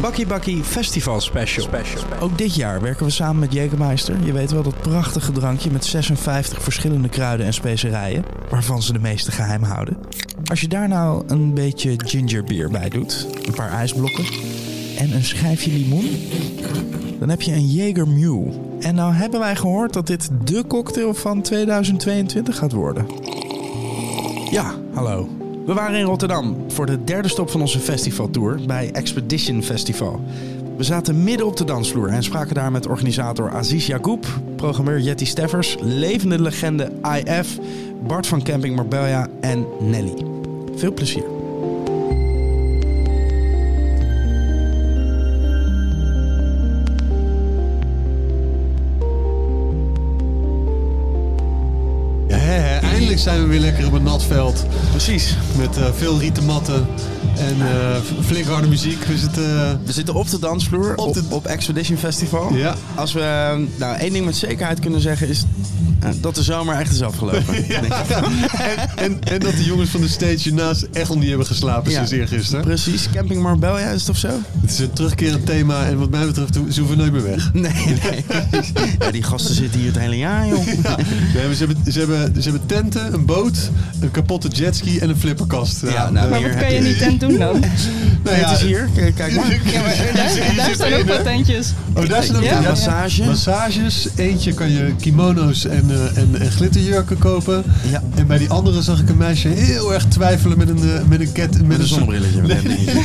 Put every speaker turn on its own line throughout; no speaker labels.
Bakkie Bakkie Festival Special. Ook dit jaar werken we samen met Jägermeister. Je weet wel dat prachtige drankje met 56 verschillende kruiden en specerijen, waarvan ze de meeste geheim houden. Als je daar nou een beetje gingerbeer bij doet, een paar ijsblokken en een schijfje limoen, dan heb je een Jaeger Mule. En nou hebben wij gehoord dat dit de cocktail van 2022 gaat worden. Ja, hallo. We waren in Rotterdam voor de derde stop van onze festivaltour bij Expedition Festival. We zaten midden op de dansvloer en spraken daar met organisator Aziz Yacoub, programmeur Jetty Steffers, levende legende IF, Bart van Camping Marbella en Nelly. Veel plezier.
Ja, hè, hè. Eindelijk zijn we weer lekker op het natveld.
Precies.
Met eh, veel rieten matten en eh, flink harde muziek. Dus het, eh,
We zitten op de dansvloer op,
Op de-
op, Expedition Festival.
Ja.
Als we eh, nou, één ding met zekerheid kunnen zeggen is eh, dat de zomer echt is afgelopen.
en, en, en dat de jongens van de stage naast echt nog niet hebben geslapen
Ja.
sinds eergisteren.
Precies, Camping Marbella is het of zo?
Het is een terugkerend thema en wat mij betreft ze hoeven nooit meer weg.
Nee, nee. Ja, die gasten zitten hier het hele jaar, joh.
Ja. Nee, maar ze, hebben, ze, hebben, ze hebben tenten, een boot, een kapotte jetski en een flipperkast.
Ja, nou,
eh,
hier
Wat
heb
kan je niet aan doen dan?
nou
Het
ja,
is hier, k- kijk maar.
Ja, maar daar,
En daar staan ook wat tentjes.
Oh, daar staan ook
Ja,
tenten.
massage.
Massages. Eentje kan je kimono's en, eh, en, en glitterjurken kopen.
Ja.
En bij die andere zag ik een meisje heel erg twijfelen met een, eh, met een ket... Met,
Met een
soort-
zonnebrilletje. met een dingetje.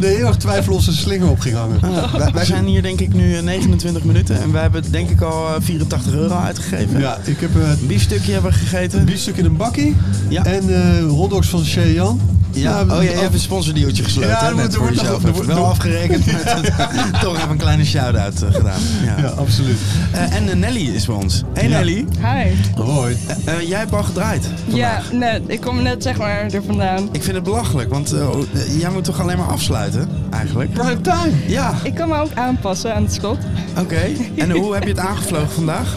Nee, heel erg twijfelen of ze een slinger op ging hangen.
Wij, wij zijn hier denk ik nu eh, 29 minuten en wij hebben denk ik al eh, 84 euro uitgegeven.
Ja, ik heb eh,
Een biefstukje hebben we gegeten.
een biefstuk in een bakkie.
Ja.
En eh hotdogs van Shea Jan.
Ja,
Nou,
oh, je hebt
over-
een sponsordeeltje gesloten.
Ja,
hè,
er
net
wordt-
voor
er wordt nog-
jezelf.
er wordt-
wel
er-
afgerekend, maar toch- toch even een kleine shout-out eh, gedaan. Ja.
ja, absoluut.
Eh, en eh, Nelly is bij ons. Hey
Ja.
Nelly,
Hi.
Hoi.
eh, jij hebt al gedraaid.
Ja, nee, ik kom net zeg maar er vandaan.
Ik vind het belachelijk, want eh, eh, jij moet toch alleen maar afsluiten, eigenlijk?
Prime time.
Ja,
Ik kan me ook aanpassen aan het slot.
oké. En hoe heb je het aangevlogen vandaag?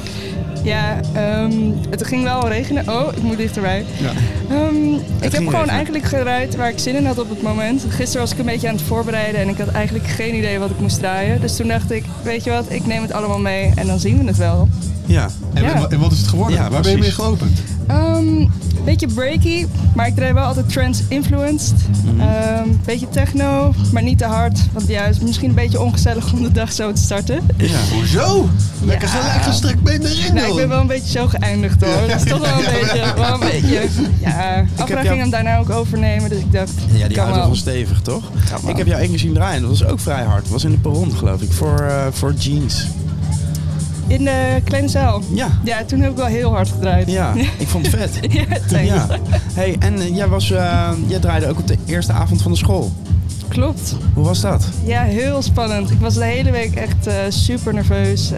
Ja, ehm, het ging wel regenen. Oh, ik moet dichterbij.
Ja.
Ehm, ik heb gewoon
regenen.
eigenlijk gedraaid waar ik zin in had op het moment. Gisteren was ik een beetje aan het voorbereiden en ik had eigenlijk geen idee wat ik moest draaien. Dus toen dacht ik, weet je wat, ik neem het allemaal mee en dan zien we het wel.
Ja.
En,
Ja.
en wat is het geworden?
Ja,
Waar ben je mee
precies.
geopend?
Ehm beetje breaky, maar ik draai wel altijd trance-influenced.
Mhm.
Ehm, beetje techno, maar niet te hard. Want ja, het is misschien een beetje ongezellig om de dag zo te starten.
ja.
Hoezo? Lekker gelijk gestrekt been erin,
Nou, ik ben wel een beetje zo geëindigd hoor. Dat is toch wel een beetje. Wel een beetje ja, Afra
jou-
ging hem daarna ook overnemen, dus ik dacht,
Ja, die
kan
auto
wel.
was stevig, toch?
Kan wel.
Ik heb jou één keer zien draaien, dat was ook vrij hard. Dat was in de perron, geloof ik, voor, eh, voor jeans.
In de kleine zaal.
Ja,
Ja, toen heb ik wel heel hard gedraaid.
ja, ik vond het vet.
Ja, thanks.
Ja. Hey, en eh, jij, was, eh, jij draaide ook op de eerste avond van de school.
Klopt.
Hoe was dat?
Ja, heel spannend. Ik was de hele week echt eh, super nerveus. Eh,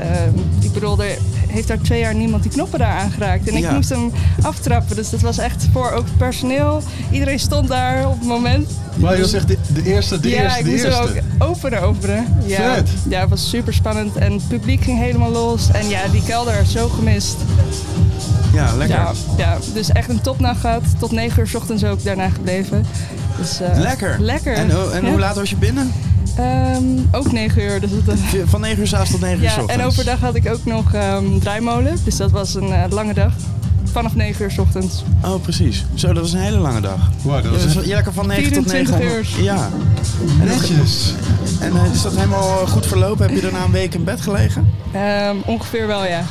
ik bedoel, er heeft daar twee jaar niemand die knoppen daar aangeraakt. En ik
Ja.
moest hem aftrappen. Dus dat was echt voor ook het personeel. Iedereen stond daar op het moment.
Maar je zegt de, de eerste, de
ja,
eerste,
ik
de
moest
eerste.
er ook openen openen. Ja,
Vet.
ja, het was super spannend. En het publiek ging helemaal los. En ja, die kelder, zo gemist.
Ja, lekker.
Ja, ja, dus echt een topnacht gehad. Tot 9 uur 's ochtends ook daarna gebleven. Dus, eh,
Lekker.
Lekker.
En, ho- en
Ja.
hoe laat was je binnen?
Ehm, ook 9 uur. Dus dat,
Je- Van 9 uur s'avonds tot 9 uur 's
Ja,
ochtends.
en overdag had ik ook nog ehm draaimolen. Dus dat was een eh, lange dag. Vanaf 9 uur 's ochtends.
Oh, precies. Zo, dat was een hele lange dag.
Wow, dat
Ja,
was
dus
echt
je lekker van 9 tot 9
24 uur.
Ja.
netjes.
En eh, is dat helemaal eh, goed verlopen? Heb je daarna een week in bed gelegen?
Ehm, ongeveer wel, ja.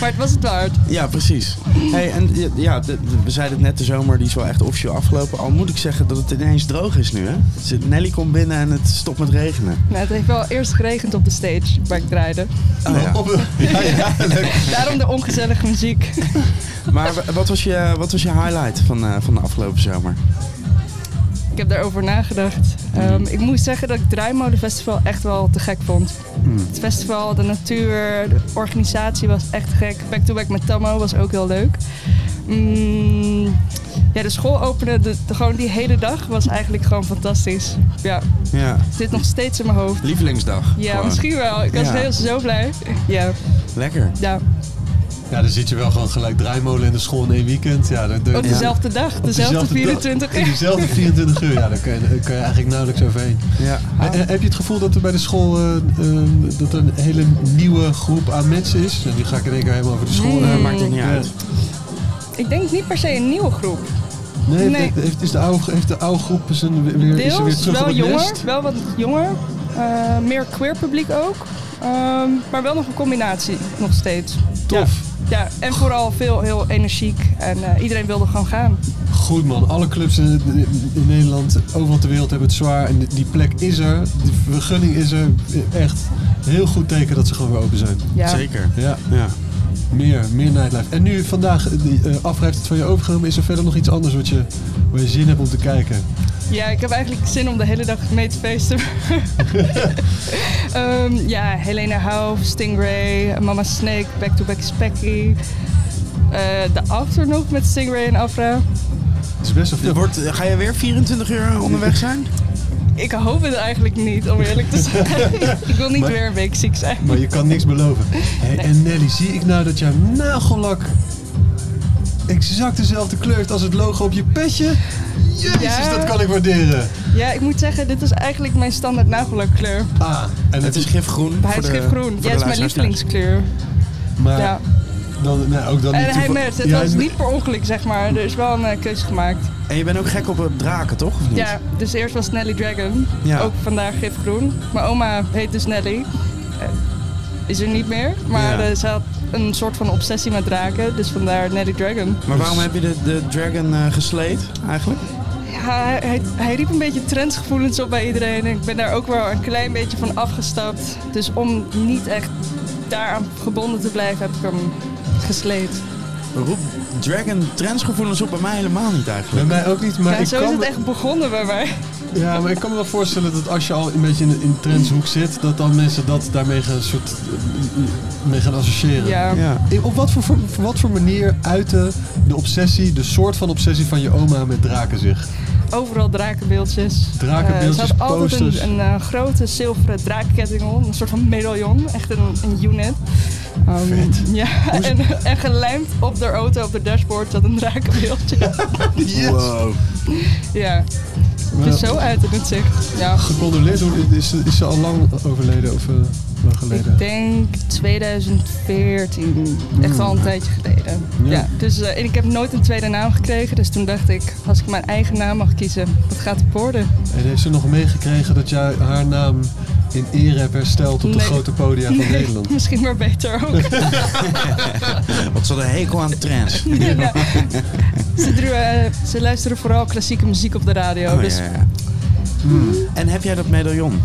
maar het was het waard.
Ja, precies. Hey, en je- ja, de- de- we zeiden het net, de zomer die is wel echt officieel afgelopen. Al moet ik zeggen dat het ineens droog is nu, hè? Het zit- Nelly komt binnen en het stopt met regenen.
Nou, het heeft wel eerst geregend op de stage waar ik draaide.
Oh, ja.
Op een- ja, ja, leuk.
Daarom de ongezellige muziek.
Maar w- wat was je, wat was je highlight van, eh, van de afgelopen zomer?
Ik heb daarover nagedacht. Ehm, ik moet zeggen dat ik het Draaimolenfestival echt wel te gek vond. Het festival, de natuur, de organisatie was echt te gek. Back to back met Tammo was ook heel leuk. Mm, ja, de school openen, de, de- gewoon die hele dag was eigenlijk gewoon fantastisch. Ja,
Ja,
het zit nog steeds in mijn hoofd.
lievelingsdag.
Ja,
gewoon.
misschien wel. Ik was
Ja.
heel zo blij. Ja,
Lekker.
ja.
Ja, dan zit je wel gewoon gelijk draaimolen en de school in één weekend. Ja, dat, dat-
Ook
ja.
dezelfde dag, dezelfde
Dezelfde dag.
24
In
uur.
dezelfde 24 uur, ja, daar kun je, daar kun je eigenlijk nauwelijks overheen.
Ja.
Eh, eh, heb je het gevoel dat er bij de school eh, eh, dat er een hele nieuwe groep aan mensen is? En nu ga ik in één keer helemaal over de school.
Nee,
eh,
maakt ook niet uit.
Ik denk niet per se een nieuwe groep.
Nee,
Nee.
Heeft, heeft- is de oude, heeft de oude groep zijn weer, weer- is er weer
Deels,
terug op
wel
het
jonger,
nest?
wel wat jonger. Eh, meer queer publiek ook. Ehm, maar wel nog een combinatie, nog steeds.
Tof.
Ja, ja en vooral veel heel energiek. En eh, iedereen wilde gewoon gaan.
Goed man, alle clubs in, in Nederland, overal ter wereld hebben het zwaar. En die- die plek is er, die vergunning is er. Echt heel goed teken dat ze gewoon weer open zijn.
Ja.
Zeker.
Ja,
Ja.
meer, meer nightlife. En nu vandaag, die, eh Afra heeft het van je overgenomen. Is er verder nog iets anders wat je, waar je zin hebt om te kijken?
Ja, ik heb eigenlijk zin om de hele dag mee te feesten. Ehm, ja, Helena Houw, Stingray, Mama Snake, Back to Back Specky. Eh, de after nog met Stingray en Afra.
Het is best wel
Er
veel.
Wordt, ga je weer 24 uur onderweg zijn?
Ik hoop het eigenlijk niet, om eerlijk te zijn. ik wil niet
Maar-
weer een week ziek zijn.
Maar je kan niks beloven. Hey, En Nelly, zie ik nou dat jouw nagellak exact dezelfde kleur heeft als het logo op je petje? Jezus,
Ja.
dat kan ik waarderen.
Ja, ik moet zeggen, dit is eigenlijk mijn standaard nagellakkleur.
Ah, en
Het is gifgroen.
Hij
voor
is
de-
gifgroen.
voor de
Ja, is mijn
luisteraars thuis.
lievelingskleur.
Maar
Ja.
dan, nou, ook dan
En
niet
hij
toeval-
merkt, het
Ja,
was
hij-
niet per ongeluk, zeg maar. Er is wel een eh, keuze gemaakt.
En je bent ook gek op eh, draken, toch? Of niet?
Ja, dus eerst was Nelly Dragon.
Ja.
Ook vandaag gifgroen. Mijn oma heet dus Nelly. Eh, Is er niet meer. Maar
Ja.
eh, ze had een soort van obsessie met draken. Dus vandaar Nelly Dragon.
Maar waarom heb je de, de dragon eh gesleed eigenlijk?
Ja, hij, hij- hij riep een beetje trendsgevoelens op bij iedereen. En ik ben daar ook wel een klein beetje van afgestapt. Dus om niet echt daaraan gebonden te blijven, heb ik hem gesleed.
Roep dragon trendsgevoelens op bij mij helemaal niet eigenlijk.
Bij mij ook niet, maar
Ja,
ik
zo
kan
is het
me-
echt begonnen bij mij.
Ja, maar ik kan me wel voorstellen dat als je al een beetje in de in de trendshoek zit, dat dan mensen dat daarmee gaan, soort, mee gaan associëren.
Ja.
Ja.
Eh, Op wat voor, voor, voor wat voor manier uitte de obsessie, de soort van obsessie van je oma met draken zich?
Overal drakenbeeldjes.
Drakenbeeldjes,
Eh, ze had altijd
posters.
een, een eh, grote zilveren draakketting om. Een soort van medaillon. Echt een, een unit. Ehm,
Vet.
Ja, en, en gelijmd op de auto, op de dashboard, zat een drakenbeeldje.
Yes!
Wow.
ja,
Maar,
dus zo uit het zicht. Ja.
Gecondoleerd, hoe- is, ze- is ze al lang overleden of eh, lang geleden?
Ik denk 2014. Echt al een tijdje geleden.
Ja.
Ja. dus eh, en ik heb nooit een tweede naam gekregen. Dus toen dacht ik, als ik mijn eigen naam mag kiezen, wat gaat het worden?
En heeft ze nog meegekregen dat jij haar naam in ere hebt hersteld op de
Nee.
grote podia van
Nee,
Nederland?
Misschien maar beter ook.
Wat zat een hekel aan trends. Oh,
Ja. ze, dru- eh, ze luisteren vooral klassieke muziek op de radio. dus
Oh, ja,
ja.
ja. Hmm. En heb jij dat medaillon?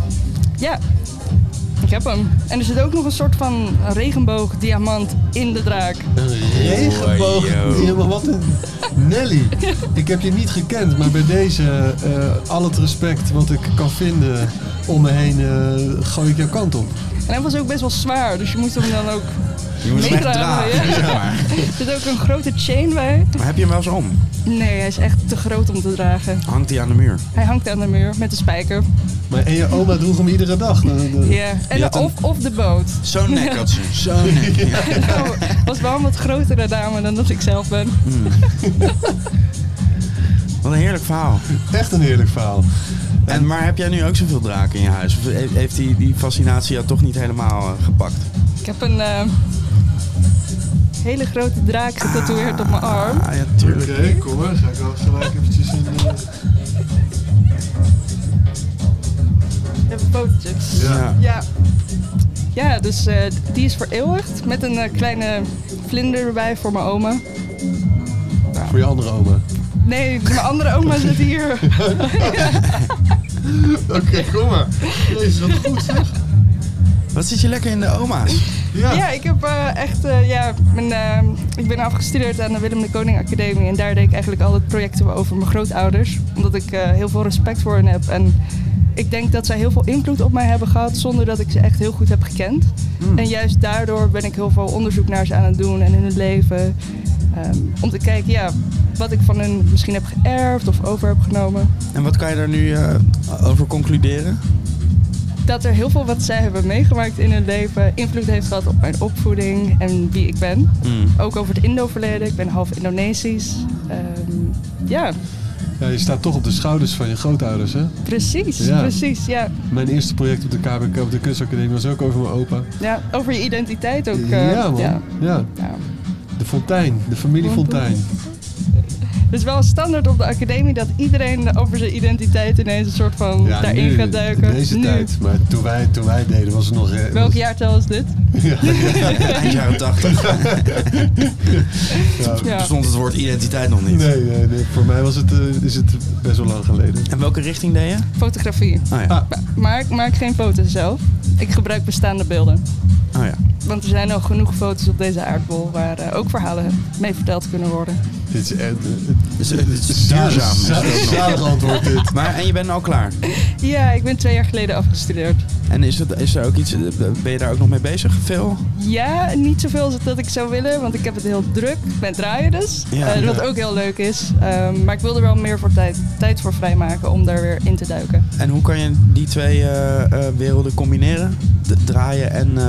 ik heb hem. En er zit ook nog een soort van regenboogdiamant in de draak.
Een regenboog.
Wow, yo.
Ja, maar wat een... Nelly, ik heb je niet gekend, maar bij deze eh, al het respect wat ik kan vinden om me heen eh, gooi ik jouw kant op.
En hij was ook best wel zwaar, dus je moest hem dan ook
Je moet hem echt
meedragen.
dragen,
ja.
zeg maar.
Er zit ook een grote chain bij.
Maar heb je hem wel eens om?
Nee, hij is echt te groot om te dragen.
Hangt hij aan de muur?
Hij hangt aan de muur met een spijker.
Maar en je oma droeg hem iedere dag. Eh, de-
Ja. En
Je had een-
of, of de boot.
Zo'n nek had ze. Zo'n nek.
Nou, was wel een wat grotere dame dan dat ik zelf ben.
Wat een heerlijk verhaal.
Echt een heerlijk verhaal.
En, maar heb jij nu ook zoveel draken in je huis? Of he- heeft die, die fascinatie jou toch niet helemaal eh, gepakt?
Ik heb een eh, hele grote draak getatoeëerd op mijn arm.
Ah ja, tuurlijk.
kom hoor. Ga ik al gelijk eventjes in... eh,
Even pootjes.
Ja.
Ja. Ja, dus eh, die is vereeuwigd met een eh, kleine vlinder erbij voor mijn oma.
Voor je andere oma.
Nee, mijn andere oma zit hier.
Oké, kom maar. Jezus, wat goed zeg.
Wat zit je lekker in de oma's?
Ja, ik heb eh, echt, eh, ja, mijn, eh, ik ben afgestudeerd aan de Willem de Koning Academie en daar deed ik eigenlijk altijd projecten over mijn grootouders, omdat ik eh, heel veel respect voor hen heb en ik denk dat zij heel veel invloed op mij hebben gehad zonder dat ik ze echt heel goed heb gekend. En juist daardoor ben ik heel veel onderzoek naar ze aan het doen en in hun leven ehm, om te kijken, ja, wat ik van hun misschien heb geërfd of over heb genomen.
En wat kan je daar nu eh, over concluderen?
dat er heel veel wat zij hebben meegemaakt in hun leven invloed heeft gehad op mijn opvoeding en wie ik ben.
Hmm.
Ook over het Indo-verleden. Ik ben half Indonesisch. Ehm, ja,
Ja, je staat toch op de schouders van je grootouders, hè?
precies.
Ja.
Precies, ja.
Mijn eerste project op de KBK, op de kunstacademie, was ook over mijn opa.
ja. Over je identiteit ook. eh,
ja, man.
Ja.
Ja.
Ja.
De Fontein, de familie Fontein.
Het is wel standaard op de academie dat iedereen over zijn identiteit ineens een soort van
Ja,
daarin
nu,
gaat duiken.
In deze
Nu.
tijd. Maar toen wij, toen wij deden, was het nog... eh,
Welk
was-
jaartal is dit?
Ja,
Eind jaren 80
ja.
Ja.
bestond het woord identiteit nog niet.
Nee, nee, nee, voor mij was het, eh, is het best wel lang geleden.
En welke richting deed je?
Fotografie.
Oh ja.
Ah.
Maar- Maar ik maak geen foto's zelf. Ik gebruik bestaande beelden.
Oh ja.
Want er zijn al genoeg foto's op deze aardbol waar eh, ook verhalen mee verteld kunnen worden.
Dit is echt...
Dus, eh, het is duurzaam. is het ook nog.
Zalig antwoord dit.
Maar en je bent al klaar.
Ja, ik ben twee jaar geleden afgestudeerd.
En is, het, is er ook iets, ben je daar ook nog mee bezig? Veel?
Ja, niet zoveel als dat ik zou willen, want ik heb het heel druk met draaien dus.
Ja.
Eh, wat
Ja.
ook heel leuk is. Ehm, maar ik wil er wel meer voor tijd, tijd voor vrijmaken om daar weer in te duiken.
En hoe kan je die twee eh, eh, werelden combineren? D- draaien en, eh,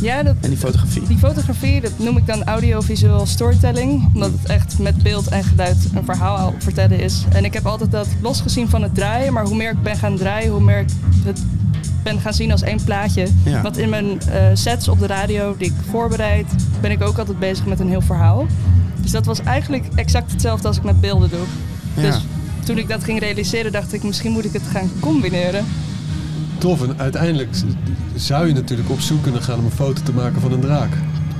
Ja, dat,
en die fotografie?
die fotografie, dat noem ik dan audiovisueel storytelling. Omdat het echt met beeld en geluid een verhaal vertellen is. En ik heb altijd dat losgezien van het draaien. Maar hoe meer ik ben gaan draaien, hoe meer ik het ben gaan zien als één plaatje.
Ja.
Want in mijn eh, sets op de radio die ik voorbereid, ben ik ook altijd bezig met een heel verhaal. Dus dat was eigenlijk exact hetzelfde als ik met beelden doe.
Ja.
Dus toen ik dat ging realiseren, dacht ik misschien moet ik het gaan combineren.
Tof, en uiteindelijk z- zou je natuurlijk op zoek kunnen gaan om een foto te maken van een draak.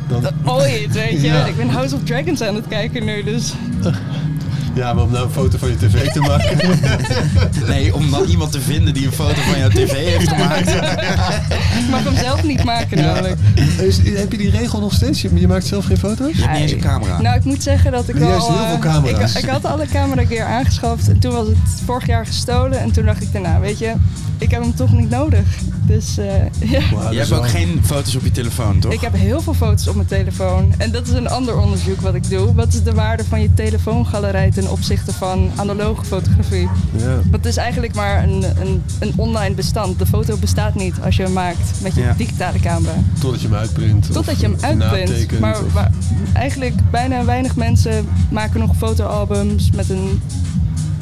Dan,
Ooit, weet je.
Ja.
Ik ben House of Dragons aan het kijken nu, dus...
ja, maar om nou een foto van je tv te maken.
Nee, om dan iemand te vinden die een foto van jouw tv heeft gemaakt.
Ik mag hem zelf niet maken namelijk.
Is, heb je die regel nog steeds? Je, je maakt zelf geen foto's?
Je hebt niet eens een camera.
Nou, ik moet zeggen dat ik
Juist,
al...
heel
eh,
veel camera's.
Ik, ik had alle camera gear aangeschaft en toen was het vorig jaar gestolen. En toen dacht ik daarna, weet je, ik heb hem toch niet nodig. Dus eh, ja,
Wauw, dat
je
is
hebt
wel-
ook geen foto's op je telefoon, toch?
ik heb heel veel foto's op mijn telefoon. En dat is een ander onderzoek wat ik doe. Wat is de waarde van je telefoongalerij ten opzichte van analoge fotografie?
Ja.
Want het is eigenlijk maar een, een, een online bestand. De foto bestaat niet als je hem maakt met je
Ja.
digitale camera.
Totdat je hem uitprint.
Totdat je hem uitprint.
uitprint.
Maar waar- eigenlijk bijna weinig mensen maken nog fotoalbums met een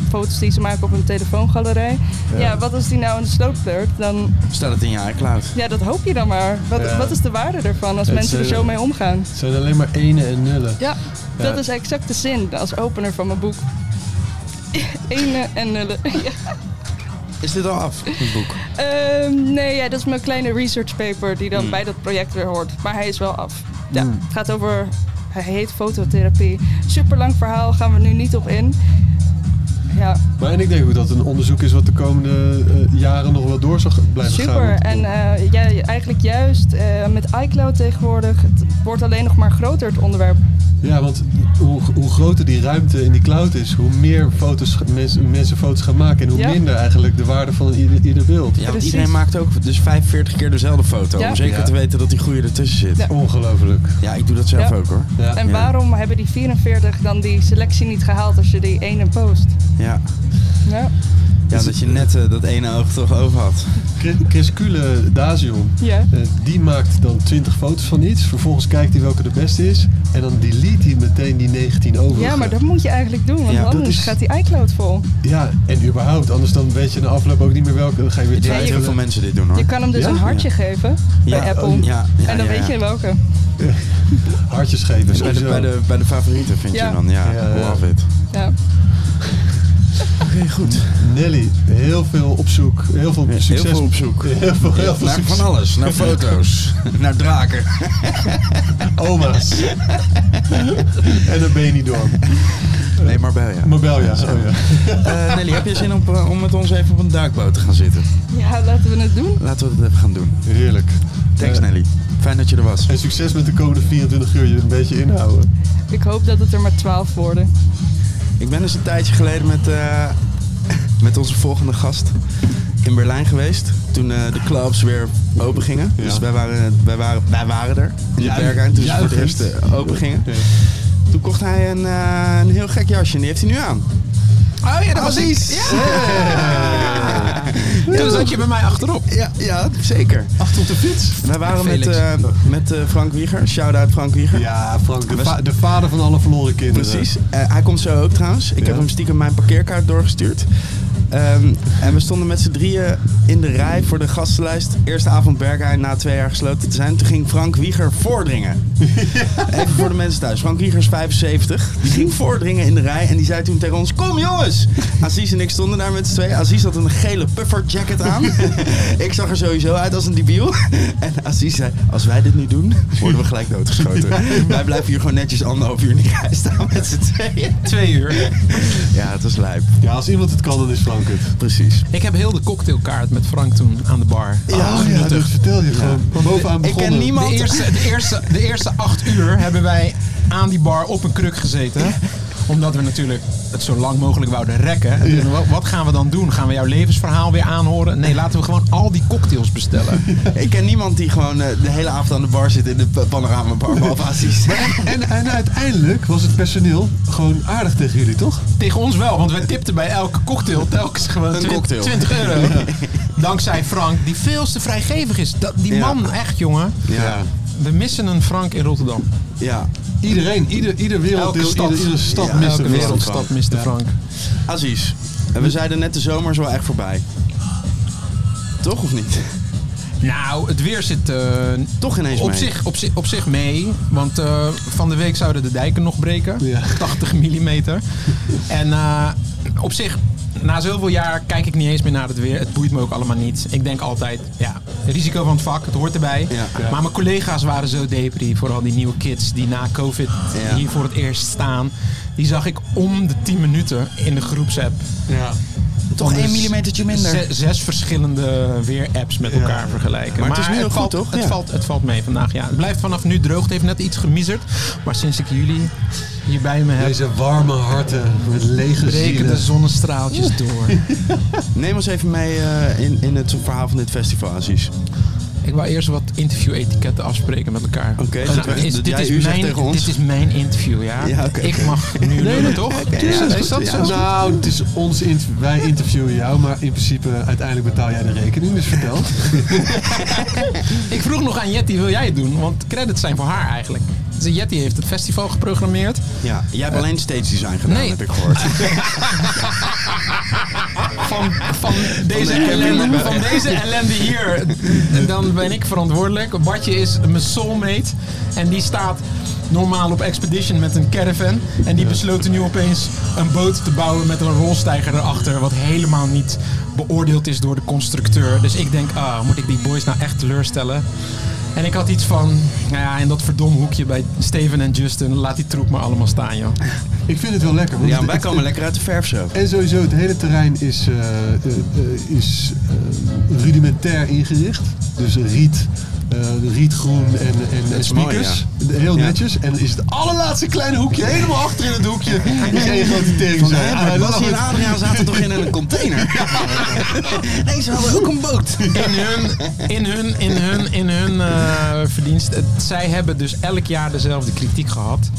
foto's die ze maken op hun telefoongalerij. Ja,
Ja.
wat als die nou in de sloot pleurt? Dan,
Staat het in je iCloud?
ja, dat hoop je dan maar. Wat,
Ja.
wat is de waarde ervan als
Het
mensen er
zijn-
zo mee omgaan?
Het zijn alleen maar ene en nullen.
Ja,
Ja.
dat is exact de zin als opener van mijn boek. Ene en nullen. Ja.
Is dit al af, het boek?
Ehm, nee, ja, dat is mijn kleine research paper die
Hmm.
dan bij dat project weer hoort. Maar hij is wel af.
Hmm.
Ja, Het gaat over, hij heet fototherapie. Super lang verhaal, gaan we nu niet op in. Ja,
Maar en ik denk ook dat het een onderzoek is wat de komende eh, jaren nog wel door zal g- blijven gaan.
super.
Want-
En eh, ja, eigenlijk juist eh, met iCloud tegenwoordig, het wordt alleen nog maar groter het onderwerp.
Ja, want hoe, hoe groter die ruimte in die cloud is, hoe meer foto's, ga- mensen, mensen foto's gaan maken en hoe
Ja.
minder eigenlijk de waarde van ieder, ieder beeld.
Ja, want
Precies.
iedereen maakt ook dus 45 keer dezelfde foto.
Ja.
Om zeker
Ja.
te weten dat die goede ertussen zit.
Ja.
Ja,
Ongelooflijk.
ik doe dat zelf
Ja.
ook hoor.
Ja.
En
Ja.
waarom hebben die 44 dan die selectie niet gehaald als je die ene post?
Ja,
Ja,
Dus
ja dat je net eh, dat ene oog toch over had.
Chris- Chris Cule Dazion,
ja.
eh, die maakt dan 20 foto's van iets. Vervolgens kijkt hij welke de beste is. En dan delete hij meteen die 19 over.
ja maar dat moet je eigenlijk doen, want
Ja, dat
anders
is-
gaat die iCloud vol.
Ja, en überhaupt. Anders dan weet je na afloop ook niet meer welke. Dan ga je weer
Ik weet dat heel veel
twijfelen.
mensen dit doen hoor.
Je kan hem dus
Ja?
een hartje geven bij Apple.
oh, Ja, ja,
en dan
ja,
weet
ja.
je welke.
Hartjes geven.
Dus bij de,
sowieso.
bij, de, bij de favorieten vind
Ja.
je dan, ja,
Ja, ja.
love it.
Ja.
Oké, goed.
Nelly, heel veel op zoek. Heel veel
Heel
succes.
veel op zoek.
Heel veel, heel veel
Naar
succes.
van alles, naar foto's, naar draken.
Oma's. en dan ben je niet door.
Nee, maar bel je.
Mabel, ja. Oh, ja.
Eh, Nelly, heb je zin om, eh, om met ons even op een duikboot te gaan zitten?
ja, laten we het doen.
Laten we dat even gaan doen.
Heerlijk.
Thanks
Eh,
Nelly. Fijn dat je er was.
En succes met de komende 24 uur. Je een beetje inhouden.
Ik hoop dat het er maar 12 worden.
Ik ben dus een tijdje geleden met, eh, met onze volgende gast in Berlijn geweest. Toen eh, de clubs weer open gingen.
Ja.
Dus wij waren, wij waren, wij waren er in
Ja,
de Berghain toen ze voor het
juichend.
eerst eh, open gingen.
Ja.
Toen kocht hij een, eh, een heel gek jasje en die heeft hij nu aan. Oh Ah, ja, dat was iets. Ja.
Dus dat je bij mij achterop.
Ja, ja zeker.
Achter op de fiets.
Wij waren met,
Felix.
eh, met eh, Frank Wieger. Shout-out Frank Wieger.
Ja, Frank, de,
We-
va- de vader van alle verloren kinderen.
Precies. Eh, hij komt zo ook trouwens. Ik
Ja.
heb hem stiekem mijn parkeerkaart doorgestuurd. Ehm, en we stonden met z'n drieën in de rij voor de gastenlijst. Eerste avond Berghain na twee jaar gesloten te zijn. Toen ging Frank Wieger voordringen. Even voor de mensen thuis. Frank Wieger is 75. Die ging voordringen in de rij. En die zei toen tegen ons, kom jongens. Aziz en ik stonden daar met z'n tweeën. Aziz had een gele pufferjacket aan. ik zag er sowieso uit als een debiel. En Aziz zei, als wij dit nu doen, worden we gelijk doodgeschoten. Wij blijven hier gewoon netjes anderhalf uur in die rij staan met z'n tweeën.
Twee uur.
Ja, het was lijp.
Ja, als iemand het kan, dan is Frank het.
Precies.
Ik heb heel de cocktailkaart met Frank toen aan de bar.
Ja,
oh, ja
nuttig.
dat vertel je gewoon. Bovenaan
Ik ken
begonnen.
niemand-
De eerste, de, eerste, de eerste acht uur hebben wij aan die bar op een kruk gezeten. Omdat we natuurlijk het zo lang mogelijk wouden rekken. En toen, wa- Wat gaan we dan doen? Gaan we jouw levensverhaal weer aanhoren? Nee, laten we gewoon al die cocktails bestellen.
Ik ken niemand die gewoon eh, de hele avond aan de bar zit in de pa- panoramabar, behalve Aziz.
En, en uiteindelijk was het personeel gewoon aardig tegen jullie, toch?
Tegen ons wel, want wij tipten bij elke cocktail telkens gewoon
Een
twin-
cocktail.
20 euro. Dankzij Frank, die veel te vrijgevig is. Dat, die
Ja.
man, echt jongen.
Ja.
We missen een Frank in Rotterdam.
Ja.
Iedereen, ieder, ieder werelddeel,
Elke stad.
ieder, iedere stad
Ja,
mist
Elke
een Frank.
wereldstad mist de
Ja.
Frank.
Aziz, en
Hm?
we zeiden net de zomer is wel echt voorbij. Toch of niet?
Nou, het weer zit eh,
Toch ineens
Op
mee.
zich, op, zich, op zich mee, want eh, van de week zouden de dijken nog breken.
Ja.
80 millimeter. En eh, op zich, na zoveel jaar kijk ik niet eens meer naar het weer. Het boeit me ook allemaal niet. Ik denk altijd, ja, risico van het vak, het hoort erbij.
Ja.
Maar mijn collega's waren zo depri, vooral die nieuwe kids die na COVID
Ja.
hier voor het eerst staan. Die zag ik om de 10 minuten in de groepsapp.
Ja.
Toch
Anders
één millimetertje minder.
ze- zes verschillende weerapps met
Ja.
elkaar vergelijken.
Maar het is nu heel
valt,
goed, toch?
Het,
Ja.
valt, het valt mee vandaag, ja. Het blijft vanaf nu droog. Het heeft net iets gemiezerd. Maar sinds ik jullie hier bij me heb,
Deze warme harten met lege
breken de
zielen.
zonnestraaltjes door.
Neem ons even mee eh, in, in het verhaal van dit festival, Aziz.
ik wou eerst wat interview-etiketten afspreken met elkaar.
Oké,
Gaan-
dat wij-
is-
dat
dit,
jij
is
u zegt
mijn,
tegen ons.
dit is mijn interview, ja.
Ja, oké.
Ik mag nu lullen, toch?
ja,
is dat
ja.
zo?
Nou, het is ons int- wij interviewen jou, maar in principe uiteindelijk betaal jij de rekening, dus vertel.
Ik vroeg nog aan Jetty, wil jij het doen? Want credits zijn voor haar eigenlijk. Dus Jetty heeft het festival geprogrammeerd.
Ja, jij hebt alleen stage design gedaan,
nee.
heb ik gehoord.
van, van, deze,
de
ellende,
camping.
van deze ellende hier. Dan ben ik verantwoordelijk. Bartje is mijn soulmate. En die staat normaal op expedition met een caravan. En die besloten nu opeens een boot te bouwen met een rolstijger erachter. Wat helemaal niet beoordeeld is door de constructeur. Dus ik denk, ah, moet ik die boys nou echt teleurstellen? En ik had iets van, nou ja, in dat verdom hoekje bij Steven en Justin, laat die troep maar allemaal staan, joh.
Ik vind het wel lekker. want
ja,
het-
maar wij komen lekker uit de verf zo.
En sowieso, het hele terrein is, eh, eh, eh, is eh, rudimentair ingericht. Dus riet, eh, rietgroen en, en, en
is mooi,
speakers. Heel
Ja.
netjes. En is het allerlaatste kleine hoekje, helemaal achter in het hoekje, is één grote tering. Ah,
Van, hè, maar Bassie en Adriaan zaten toch in een container? nee, ze hadden ook een boot.
In hun, in hun, in hun, in hun eh, verdienst. Het- zij hebben dus elk jaar dezelfde kritiek gehad.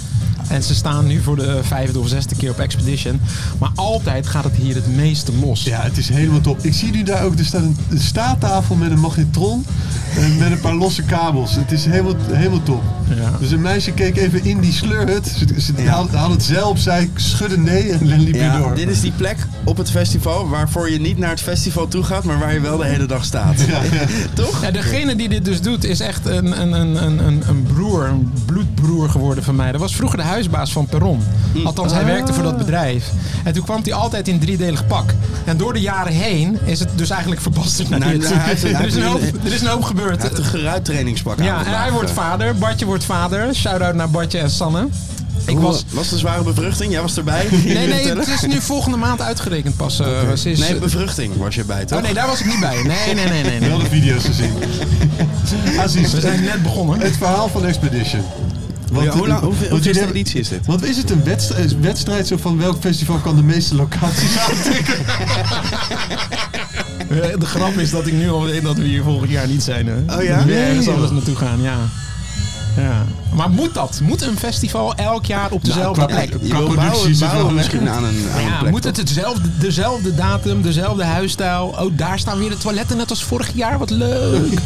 En ze staan nu voor de eh, vijfde of zesde keer op Expedition. Maar altijd gaat het hier het meeste los.
Ja, het is helemaal top. Ik zie nu daar ook, er staat een, een staattafel met een magnetron en met een paar losse kabels. Het is helemaal, helemaal top.
Ja.
Dus een meisje keek even in die slurhut. Ze, ze
Ja.
haalde, haalde het zeil op, zei schudde nee en liep weer
Ja,
door.
dit is die plek op het festival waarvoor je niet naar het festival toe gaat, maar waar je wel de hele dag staat. Toch?
Ja, degene die dit dus doet is echt een, een, een, een, een, een broer, een bloedbroer geworden van mij. Dat was vroeger de huisbaas van Perron.
Mm.
Althans,
Ah.
hij werkte voor dat bedrijf. En toen kwam hij altijd in driedelig pak. En door de jaren heen is het dus eigenlijk verbasterd naar
Nou,
dit.
nou, hij heeft- hij
er, is een
heeft-
hoop, er is een hoop gebeurd.
Hij heeft een geruit trainingspak aan.
Ja, eh. en
vandaag.
hij wordt vader. Bartje wordt vader. Shout-out naar Bartje en Sanne. Ik
Hoe
was...
was de zware bevruchting? Jij was erbij?
Nee, nee,
Vertellen?
het is nu volgende maand uitgerekend pas. eh, ze is-
Nee, bevruchting was je bij, toch?
oh nee, daar was ik niet bij. Nee, nee, nee,
Wel
nee. nee.
de video's te zien. Aziz,
We zijn net begonnen.
het verhaal van Expedition. Want,
Ja, hoe lang, hoeveel,
want
hoeveelste
jullie-
editie is dit?
Want is het een wedstrijd, een wedstrijd zo van welk festival kan de meeste locaties aan?
De grap is dat ik nu al weet dat we hier volgend jaar niet zijn. Hè?
Oh ja?
We ergens
Nee,
anders naartoe gaan, ja. Ja. Nou, Maar moet dat? Moet een festival elk jaar op dezelfde
qua
plek?
plek. Je wil bouwen,
producties en
bouwen
zo.
misschien aan een, aan een
Ja,
plek.
moet het hetzelfde, dezelfde datum, dezelfde huisstijl? Oh, daar staan weer de toiletten net als vorig jaar. Wat leuk.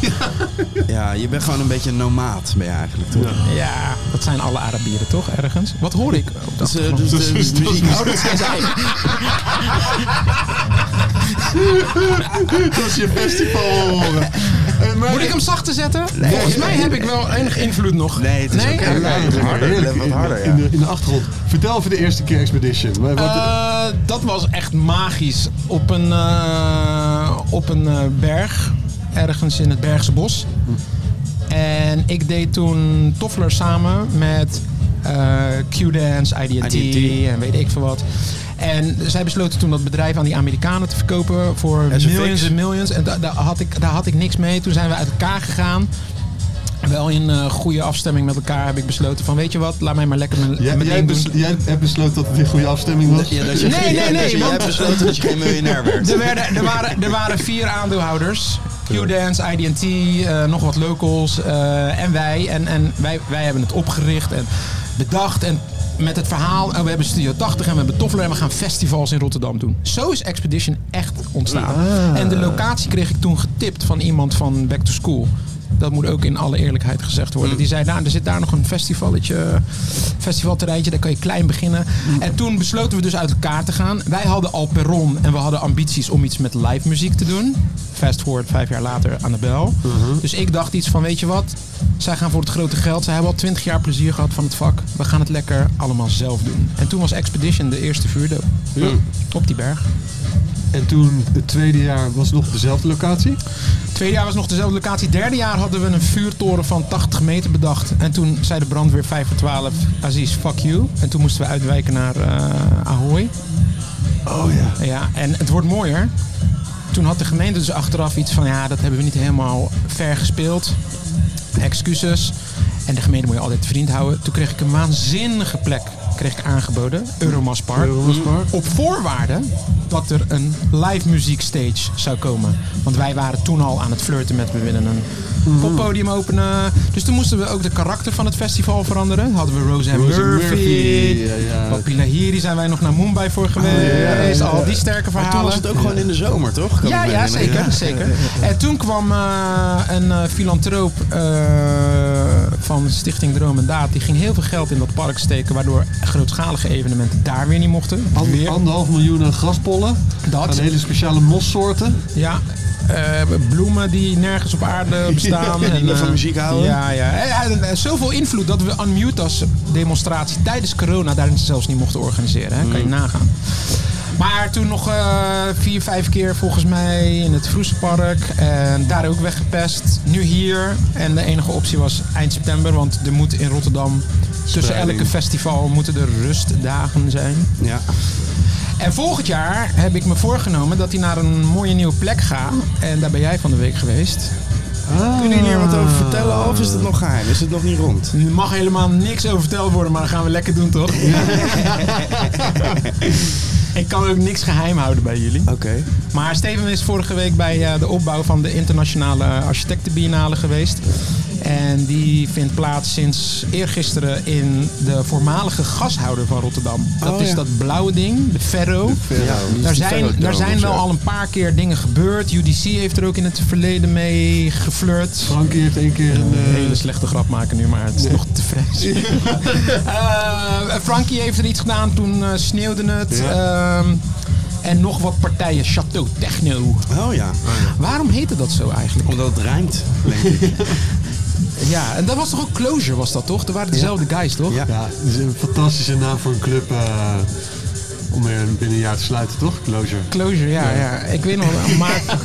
Ja, je bent gewoon een beetje een nomaat ben je eigenlijk, toch?
Ja, dat zijn alle Arabieren toch ergens? Wat hoor ik? op de
Dus, eh,
achtergrond?
dus de
is- dat
muziek.
is-
Oh, dat zijn zij.
Dat is je festival horen. En maar-
Moet ik hem zachter zetten? Volgens mij heb ik wel enige invloed nog.
Nee, het is ook
Eh,
heel
Heerlijk,
Wat harder,
heerlijk.
wat harder, ja.
in, de, in de achtergrond. Vertel over de eerste keer Expedition. Wat- wat-
eh, dat was echt magisch. Op een, eh, op een eh, berg, ergens in het Bergse bos. En ik deed toen Toffler samen met eh, Q-Dance, IDT,
IDT.
en weet ik veel wat. En zij besloten toen dat bedrijf aan die Amerikanen te verkopen voor
SFX.
millions en millions. En da- daar had ik, daar had ik niks mee. Toen zijn we uit elkaar gegaan. Wel in eh, goede afstemming met elkaar heb ik besloten van weet je wat, laat mij maar lekker mijn,
jij,
mijn
jij,
ding
bes-
doen.
jij hebt besloten dat het een goede afstemming was.
Ja, dat je,
Nee, nee,
ja,
nee,
dat je, jij
want-
hebt besloten dat je geen miljonair werd.
Er, werden, er, waren, er waren vier aandeelhouders. Q-Dance, IDT, eh, nog wat locals eh, en wij. En, en wij, wij hebben het opgericht en bedacht. En met het verhaal, oh, we hebben Studio 80 en we hebben Toffler... en we gaan festivals in Rotterdam doen. Zo is Expedition echt ontstaan. En de locatie kreeg ik toen getipt van iemand van Back to School. Dat moet ook in alle eerlijkheid gezegd worden. Die zei, nou, er zit daar nog een festivalletje, festivalterreintje, daar kan je klein beginnen. En toen besloten we dus uit elkaar te gaan. Wij hadden al perron en we hadden ambities om iets met live muziek te doen. Fast forward vijf jaar later aan de bel. Dus ik dacht iets van, weet je wat, zij gaan voor het grote geld. Zij hebben al twintig jaar plezier gehad van het vak. We gaan het lekker allemaal zelf doen. En toen was Expedition de eerste vuurdoop op die berg.
En toen, het tweede jaar, was het nog dezelfde locatie.
Tweede jaar was nog dezelfde locatie. Derde jaar hadden we een vuurtoren van 80 meter bedacht. En toen zei de brandweer 5 voor 12, Aziz, fuck you. En toen moesten we uitwijken naar eh Ahoy.
Oh ja.
Ja, en het wordt mooier. Toen had de gemeente dus achteraf iets van, ja, dat hebben we niet helemaal ver gespeeld. Excuses. En de gemeente moet je altijd vriend houden. Toen kreeg ik een waanzinnige plek kreeg ik aangeboden. Euromas Park.
Park.
Op voorwaarde dat er een live muziek stage zou komen. Want wij waren toen al aan het flirten met we willen een
Mhm.
poppodium openen. Dus toen moesten we ook de karakter van het festival veranderen. Hadden we Roseanne
Roseanne
Murphy.
Murphy, ja, ja.
Papila Hiri zijn wij nog naar Mumbai
Ah,
voor geweest. Al die sterke
Maar toen
verhalen.
was het ook gewoon in de zomer, toch? Kan ik
Ja,
me
ja,
herinneren.
zeker, zeker. En toen kwam eh, een eh, filantroop eh, van Stichting Droom en Daad. Die ging heel veel geld in dat park steken. Waardoor grootschalige evenementen daar weer niet mochten.
An-
Weer
anderhalf miljoen aan graspollen. Aan
dat.
hele speciale mossoorten.
Ja. eh, bloemen die nergens op aarde bestaan.
Ja, die
en,
nog van
eh,
muziek houden.
Ja, ja. Eh, En, en, en zoveel invloed dat we Unmute als demonstratie tijdens corona daarin zelfs niet mochten organiseren. Hè? Kan
Mm.
je nagaan. Maar toen nog eh, vier, vijf keer volgens mij in het Vroesenpark. En daar ook weggepest. Nu hier. En de enige optie was eind september. Want er moet in Rotterdam tussen
Spreiding.
elke festival moeten er rustdagen zijn.
Ja.
En volgend jaar heb ik me voorgenomen dat hij naar een mooie nieuwe plek gaat. En daar ben jij van de week geweest.
Kunnen jullie hier wat over
Ah.
vertellen of is het nog geheim? Is het nog niet rond?
Er mag helemaal niks over verteld worden, maar dat gaan we lekker doen, toch? ik kan ook niks geheim houden bij jullie.
Oké.
Maar Steven is vorige week bij eh, de opbouw van de internationale eh, architectenbiennale geweest. En die vindt plaats sinds eergisteren in de voormalige gashouder van Rotterdam. Dat
Oh,
is
ja.
dat blauwe ding, de Ferro.
Ja, die is
Daar
de
zijn,
Ferrodome
daar zijn
of zo.
wel al een paar keer dingen gebeurd. UDC heeft er ook in het verleden mee geflirt.
Frankie heeft één keer een...
Een
eh,
hele slechte grap maken nu, maar het is nog te fris. Eh, Frankie heeft er iets gedaan, toen eh, sneeuwde het. Ehm, en nog wat partijen, Chateau Techno.
Oh ja.
Waarom heette dat zo eigenlijk?
Omdat het rijmt.
Ja, en dat was toch ook Closure, was dat toch? Er waren dezelfde guys, toch?
Ja.
ja, dat is een fantastische naam voor een club. eh, om er binnen een jaar te sluiten, toch? Closure.
Closure, ja, ja. Ik weet nog wel. Maarten,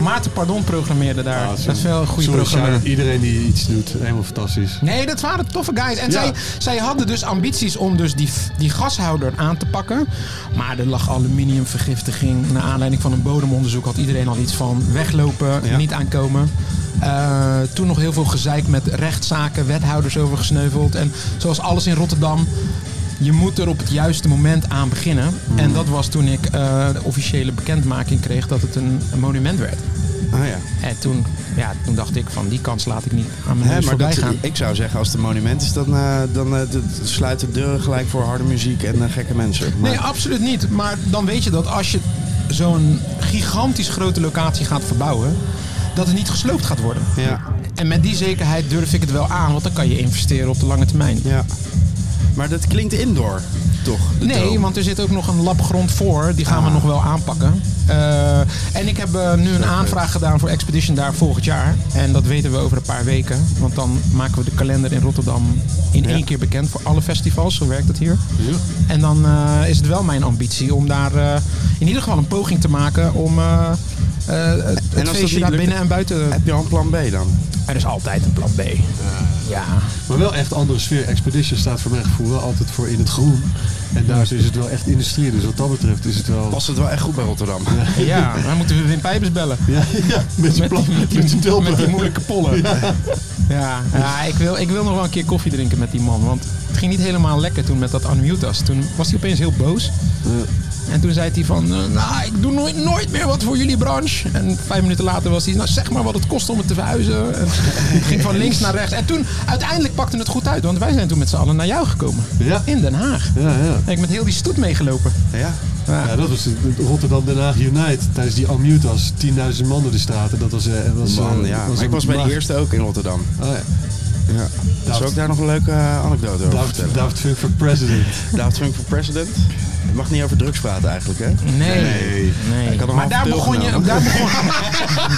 Maarten Pardon programmeerde daar.
Ah,
dat is wel een goede
Sorry,
programmeur.
shout-out iedereen die iets doet. Helemaal fantastisch.
Nee, dat waren toffe guys. En
Ja.
zij, zij hadden dus ambities om dus die, die gashouder aan te pakken. Maar er lag aluminiumvergiftiging. Naar aanleiding van een bodemonderzoek had iedereen al iets van weglopen,
Ja.
niet aankomen. Eh, toen nog heel veel gezeik met rechtszaken, wethouders over gesneuveld. En zoals alles in Rotterdam, je moet er op het juiste moment aan
Mm.
beginnen. En dat was toen ik eh, de officiële bekendmaking kreeg dat het een, een monument werd.
Ah ja.
En toen, ja, toen dacht ik van die kans laat ik niet aan mijn
Hè,
neus
maar
voorbij
dat,
gaan.
ik zou zeggen, als het een monument is, dan, eh, dan eh, d- sluit de deuren gelijk voor harde muziek en eh, gekke mensen. Maar,
Nee, absoluut niet. Maar dan weet je dat als je zo'n gigantisch grote locatie gaat verbouwen, dat het niet gesloopt gaat worden.
ja,
En met die zekerheid durf ik het wel aan, want dan kan je investeren op de lange termijn.
ja. maar dat klinkt indoor, toch? de
Nee,
dome?
want er zit ook nog een lab grond voor. Die gaan we nog wel aanpakken. Eh, en ik heb eh, nu een aanvraag gedaan voor Expedition daar volgend jaar. En dat weten we over een paar weken. Want dan maken we de kalender in Rotterdam in
Ja.
één keer bekend voor alle festivals. Zo werkt het hier.
Ja.
En dan eh, is het wel mijn ambitie om daar eh, in ieder geval een poging te maken om eh, eh, het,
dat
het
niet
feestje daar
lukt-
binnen en buiten.
Heb je al een plan B dan?
Er is altijd een plan B. Ja.
Maar wel echt andere sfeer. Expedition staat voor mijn gevoel wel altijd voor in het groen. En daar is het wel echt industrie. Dus wat dat betreft is het wel...
Past het wel echt goed bij Rotterdam?
Ja, dan moeten we Wim Pijpers bellen.
Ja, ja met zijn plan, met, zijn
Met die
tulpen.
moeilijke pollen. Ja, ja, ik, wil, ik wil nog wel een keer koffie drinken met die man. Want het ging niet helemaal lekker toen met dat unmutas. Toen was hij opeens heel boos. En toen zei hij van, eh, nou, ik doe nooit, nooit meer wat voor jullie branche. En vijf minuten later was hij, nou zeg maar wat het kost om het te verhuizen. En het ging van links naar rechts. En toen, uiteindelijk pakte het goed uit. Want wij zijn toen met z'n allen naar jou gekomen.
Ja.
In Den Haag.
Ja, ja.
En ik met heel die stoet meegelopen.
Ja.
Ja, dat was het- het Rotterdam Den Haag Unite tijdens die Amutas. 10.000 man door de straten. Dat was... eh, was
Man,
eh,
ja.
was
Maar ik
een
was bij de
maag-
eerste ook in Rotterdam.
Oh, ja.
Ja. Zou ik daar nog een leuke eh, anekdote over vertellen?
David, David Funk voor president.
David Funk voor president. Je mag niet over drugs praten eigenlijk, hè?
Nee.
Ik had een
Maar
halve
daar
pil
begon je,
genomen.
daar begon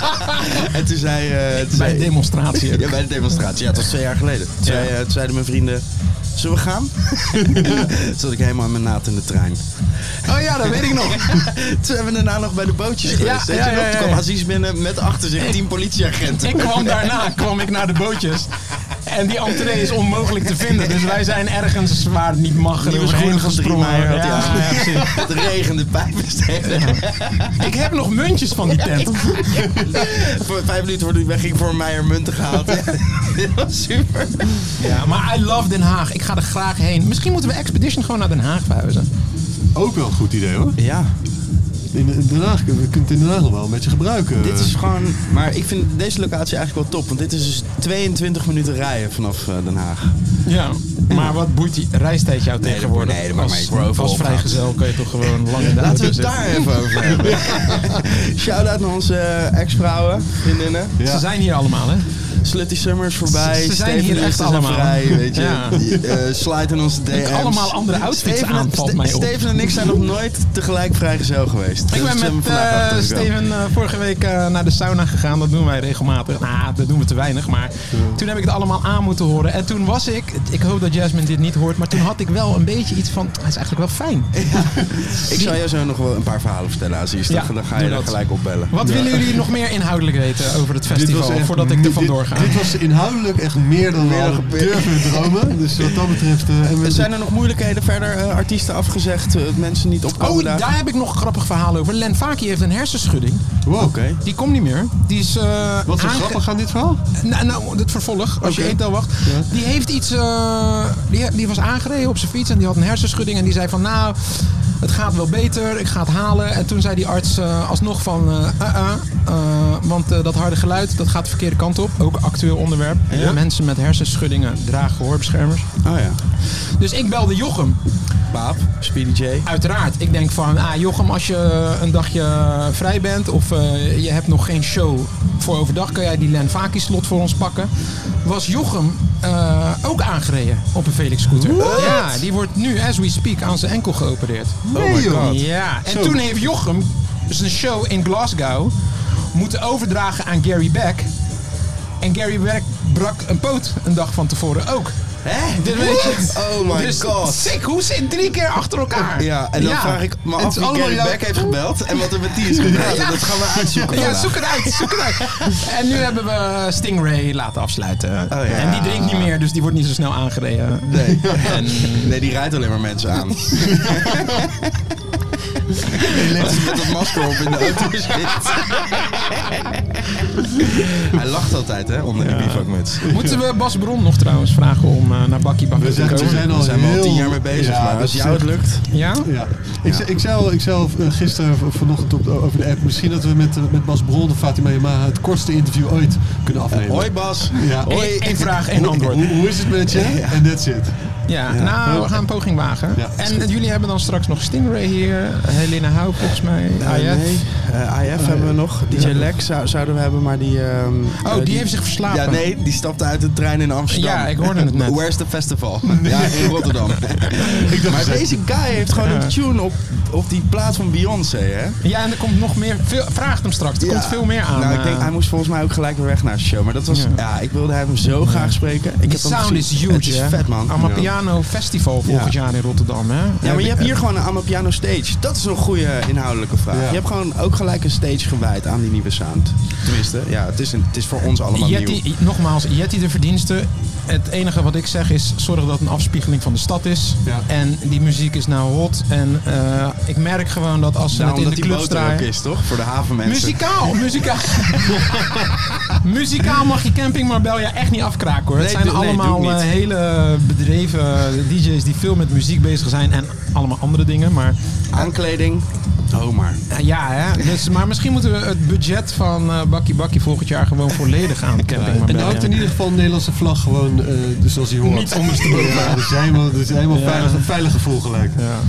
En toen zei... eh, toen
bij
zei-
een demonstratie.
Ja, bij de demonstratie. Ja, dat was twee jaar geleden. Toen, zei, eh, toen zeiden mijn vrienden... Zullen we gaan? toen zat ik helemaal in mijn naad in de trein.
Oh ja, dat weet ik nog.
Toen zijn we daarna nog bij de bootjes geweest.
ja,
weet je
ja,
nog?
ja,
Toen
ja.
kwam Aziz binnen met achter zich tien politieagenten.
Ik kwam daarna, kwam ik naar de bootjes. En die entree is onmogelijk te vinden. Dus wij zijn ergens waar het niet mag. Dus
Nieuwe
er
schoenen
overheen
van drie
gesprongen.
meijer had hij
Ja,
aan.
ja, precies.
Het regende pijpenstelen.
ik heb nog muntjes van die tent.
Voor vijf minuten wordt hij wegging voor Meijer munten gehaald. Dit was super.
Ja, maar I love Den Haag. Ik ga er graag heen. Misschien moeten we Expedition gewoon naar Den Haag verhuizen.
Ook wel een goed idee hoor.
Ja,
In, in Den Haag, we kunnen het in Den Haag nog wel een beetje gebruiken.
dit is gewoon... Maar ik vind deze locatie eigenlijk wel top. Want dit is dus 22 minuten rijden vanaf eh, Den Haag.
Ja. Maar wat boeit die reistijd jou
dat-
tegenwoordig?
nee, dat maakt mij
als,
niet over.
als vrijgezel kan je toch gewoon lang in de
Laten
auto
we het
zitten.
daar even over hebben. Shout-out naar onze eh, ex-vrouwen, vriendinnen.
Ja.
Ze zijn hier allemaal, hè?
Slutty Summers voorbij.
Ze- ze zijn
Steven
hier
Lichten
echt
zijn
allemaal.
Vrij, weet je.
Ja.
Die, eh, slide in onze DM's.
allemaal andere outfits
Steven en-
aan, valt
Ste-
mij op.
Steven en ik zijn nog nooit tegelijk vrijgezel geweest. Dus
Dus
Dat
Ik ben
zijn we
met
vandaag
eh,
achter gekomen.
Steven eh, vorige week eh, naar de sauna gegaan. Dat doen wij regelmatig. Nou, dat doen we te weinig. Maar toen heb ik het allemaal aan moeten horen. En toen was ik, ik hoop dat Jasmine dit niet hoort, maar toen had ik wel een beetje iets van, het is eigenlijk wel fijn.
Ik zal jou zo nog wel een paar verhalen vertellen, Aziz. Dan,
Ja,
dan ga
doe
je er
dat.
gelijk opbellen.
Wat willen jullie nog meer inhoudelijk weten over het festival,
echt
voordat ik
mi-
er vandoor
dit-
ga?
Dit was inhoudelijk echt meer dan we
Meer dan
hadden
gebeurd.
durven dromen. Dus wat dat betreft... eh, en we-
Zijn er nog moeilijkheden verder? eh, artiesten afgezegd, eh, mensen niet opkomen
Oh,
daar?
daar heb ik nog een grappig verhaal over. Len Faki heeft een hersenschudding.
Wow.
Die komt niet meer. Die is eh,
Wat is
aange-
grappig aan dit verhaal?
Nou, nou, het vervolg, als je
Oké.
eet al wacht. Die heeft iets. eh, die, die was aangereden op zijn fiets en die had een hersenschudding. En die zei van nou, het gaat wel beter, ik ga het halen. En toen zei die arts eh, alsnog van eh, eh, eh, eh, want eh, dat harde geluid dat gaat de verkeerde kant op. Ook een actueel onderwerp. Mensen met hersenschuddingen dragen gehoorbeschermers.
Oh ja.
Dus ik belde Jochem.
Paap, Speedy J.
Uiteraard. Ik denk van, ah Jochem, als je een dagje vrij bent of eh, je hebt nog geen show voor overdag, kan jij die Lenvaki slot voor ons pakken. Was Jochem eh, ook aangereden op een Felix scooter? Ja, die wordt nu, as we speak, aan zijn enkel geopereerd.
Nee,
Oh my
joh.
God.
Ja, en
Zo.
toen heeft Jochem zijn show in Glasgow moeten overdragen aan Gary Beck. En Gary Beck brak een poot een dag van tevoren ook.
Hè?
Dit weet je.
Oh my
Dus
god.
Sick, hoe zit drie keer achter elkaar?
Ja, en dan vraag ik me af wie Gary Beck heeft gebeld en wat er met die is gedaan.
Ja.
Dat gaan we uitzoeken
Ja,
vandaag.
zoek het uit, zoek het uit. En nu hebben we Stingray laten afsluiten.
Oh, ja.
En die drinkt niet meer, dus die wordt niet zo snel aangereden.
Nee. nee, die rijdt alleen maar mensen aan. Die ligt met dat masker op in de auto zit.
Hij lacht altijd, hè, onder die bivakmuts.
Moeten we Bas Bron nog trouwens vragen om eh, naar Bakkie Bakkie
We
te
zijn- we
komen?
zijn al
Daar zijn we al
heel-
tien jaar mee bezig,
Ja,
maar als
dat
jou het
is-
lukt...
Ja?
Ja. Ik, z- ik zei al, ik zei al eh, gisteren v- vanochtend op de- over de app, misschien dat we met, eh, met Bas Bron of Fatima Yamaha het kortste interview ooit kunnen afnemen.
Hoi Bas!
Ja.
Eén één vraag, één
Hoe-
antwoord.
Hoe, hoe is het met je? En that's it.
Ja, nou, we gaan een poging wagen.
Ja, is
en jullie hebben dan straks nog Stingray hier. Helena Houw volgens mij.
Eh,
Ah, ja.
Nee, Eh, IF hebben we nog. DJ Lex zou- zouden we hebben, maar die... ehm, eh,
Oh, die heeft zich verslapen.
Ja, nee, die stapte uit de trein in Amsterdam.
Ja, ik hoorde het net.
Where's the festival? Ja, in Rotterdam. maar deze guy heeft gewoon een tune op, op die plaat van Beyoncé, hè?
Ja, en er komt nog meer. Veel, vraag hem straks. Er
Ja.
komt veel meer aan.
Nou, ik denk,
eh.
hij moest volgens mij ook gelijk weer weg naar zijn show. Maar dat was,
Ja.
ja, ik wilde hem zo graag spreken. Ik
Die
heb hem
sound is
gezien.
huge,
Het is
hè?
vet, man.
Amapiano Festival volgend jaar in Rotterdam, hè?
Ja, maar je hebt hier gewoon een Amapiano stage. Dat is een goede inhoudelijke vraag.
Ja.
Je hebt gewoon ook gelijk een stage gewijd aan die nieuwe sound. Tenminste, ja, het is, een, het is voor ons allemaal nieuw.
Yeti, nogmaals, Yeti de verdiensten. Het enige wat ik zeg is, zorg dat het een afspiegeling van de stad is.
Ja.
En die muziek is nou hot. En eh, ik merk gewoon dat als ze
Nou,
het in de
omdat die
clubs
boot er ook
draaien...
is, toch? Voor de havenmensen.
Muzikaal, muzikaal. muzikaal mag je Camping Marbella echt niet afkraken hoor. het
Nee,
zijn
doe- nee,
allemaal
doe ik niet.
eh, hele bedreven DJ's die veel met muziek bezig zijn en allemaal andere dingen. Maar
Aankleding. Oh, maar.
eh, ja, hè. Dus, maar misschien moeten we het budget van eh Bakkie Bakkie volgend jaar gewoon volledig aan Camping
En
Marbella.
houdt in ieder geval de Nederlandse vlag gewoon eh, dus zoals hij hoort.
Niet ondersteboven.
Ja, dus helemaal, dus helemaal veilig, een veilig gevoel gelijk.
Ja.